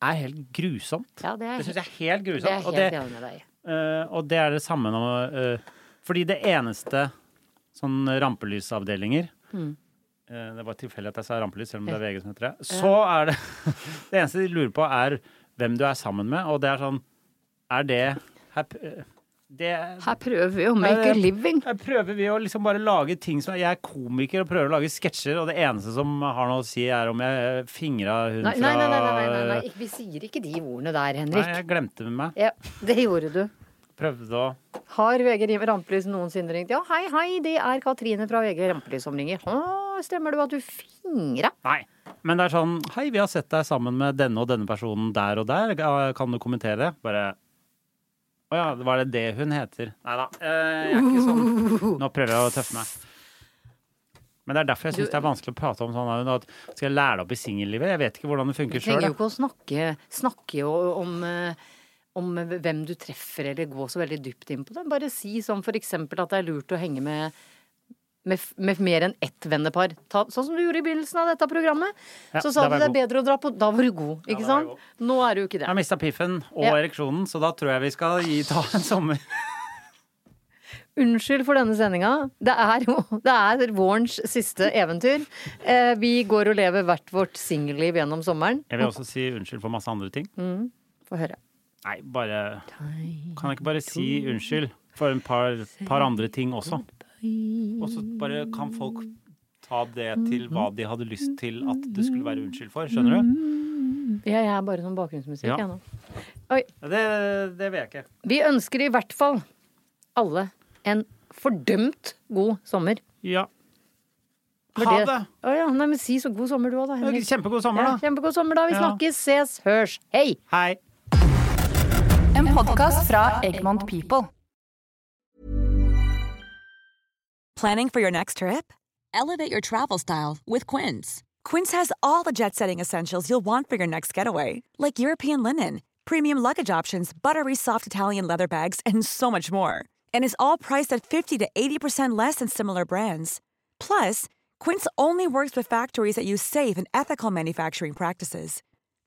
B: er helt grusomt.
A: Ja, det er
B: Det syns
A: helt-
B: jeg er helt
A: Det er
B: grusomt.
A: helt
B: og, det,
A: enig med deg.
B: eh, og det er det samme nå eh, Fordi det eneste sånn rampelysavdelinger
A: Mm.
B: eh, Det var tilfeldig at jeg sa rampelys, selv om det er VG som heter det. Så er det (laughs) Det eneste de lurer på, er hvem du er sammen med, og det er sånn Er det her- eh, det,
A: Her prøver vi å make a living.
B: her prøver vi å liksom bare lage ting som Jeg er komiker og prøver å lage sketsjer, og det eneste som har noe å si, er om jeg fingra hun
A: Nei,
B: fra
A: nei, nei, nei, nei, nei, nei. ikke- Vi sier ikke de ordene der,
B: Nei,
A: Henrik.
B: jeg glemte med meg.
A: Ja, det gjorde du.
B: Prøvde å
A: Har VG Rim- Rampelys noensinne ringt? Ja, hei, hei, det er Katrine fra VG Rampelys som ringer. Å, stemmer det at du fingra?
B: Nei. Men det er sånn Hei, vi har sett deg sammen med denne og denne personen der og der. Ja, Kan du kommentere det? Bare Å ja, var det det hun heter? Nei da. eh, Jeg er ikke sånn. Nå prøver jeg å tøffe meg. Men det er derfor jeg syns det er vanskelig å prate om sånn at skal jeg lære deg opp i singellivet? Jeg vet ikke hvordan det
A: Du
B: funker sjøl.
A: trenger jo ikke å snakke, snakke o- om, eh, om hvem du treffer, eller gå så veldig dypt inn på det. Bare si som for eksempel at det er lurt å henge med med, f- med mer enn ett vennepar. Ta, sånn som du gjorde i begynnelsen av dette programmet.
B: Ja,
A: så sa du
B: der var
A: det
B: jeg
A: er bedre å dra på Da var du god, ikke
B: da var jeg
A: sant? Nå er du jo ikke det.
B: Jeg har mista piffen og
A: Ja.
B: ereksjonen, så da tror jeg vi skal gi, ta en sommer.
A: Unnskyld for denne sendinga. Det er jo det er vårens siste eventyr. Eh, vi går og lever hvert vårt singelliv gjennom sommeren.
B: Jeg vil også si unnskyld for masse andre ting.
A: Få høre.
B: Nei, bare Kan jeg ikke bare si unnskyld for et par, par andre ting også? Og så bare kan folk ta det til hva de hadde lyst til at det skulle være unnskyld for. Skjønner du?
A: Ja, jeg er bare sånn bakgrunnsmusikk,
B: Ja.
A: jeg nå.
B: Det, det vil jeg ikke.
A: Vi ønsker i hvert fall alle en fordømt god sommer.
B: Ja.
A: For
B: Ha det!
A: Å ja, nei, men si så god sommer du òg, da. Henrik.
B: Kjempegod
A: Ja,
B: sommer, da.
A: kjempegod sommer, da. Vi
B: Ja.
A: snakkes, ses, hørs. Hei!
B: Hei.
D: En podkast fra Egmont People.
C: Planning for your next trip?
E: Elevate your travel style with Quince.
C: Quince has all the jet setting essentials you'll want for your next getaway, like European linen, premium luggage options, buttery soft Italian leather bags, and so much more. And is all priced at 50 to 80% less than similar brands. Plus, Quince only works with factories that use safe and ethical manufacturing practices.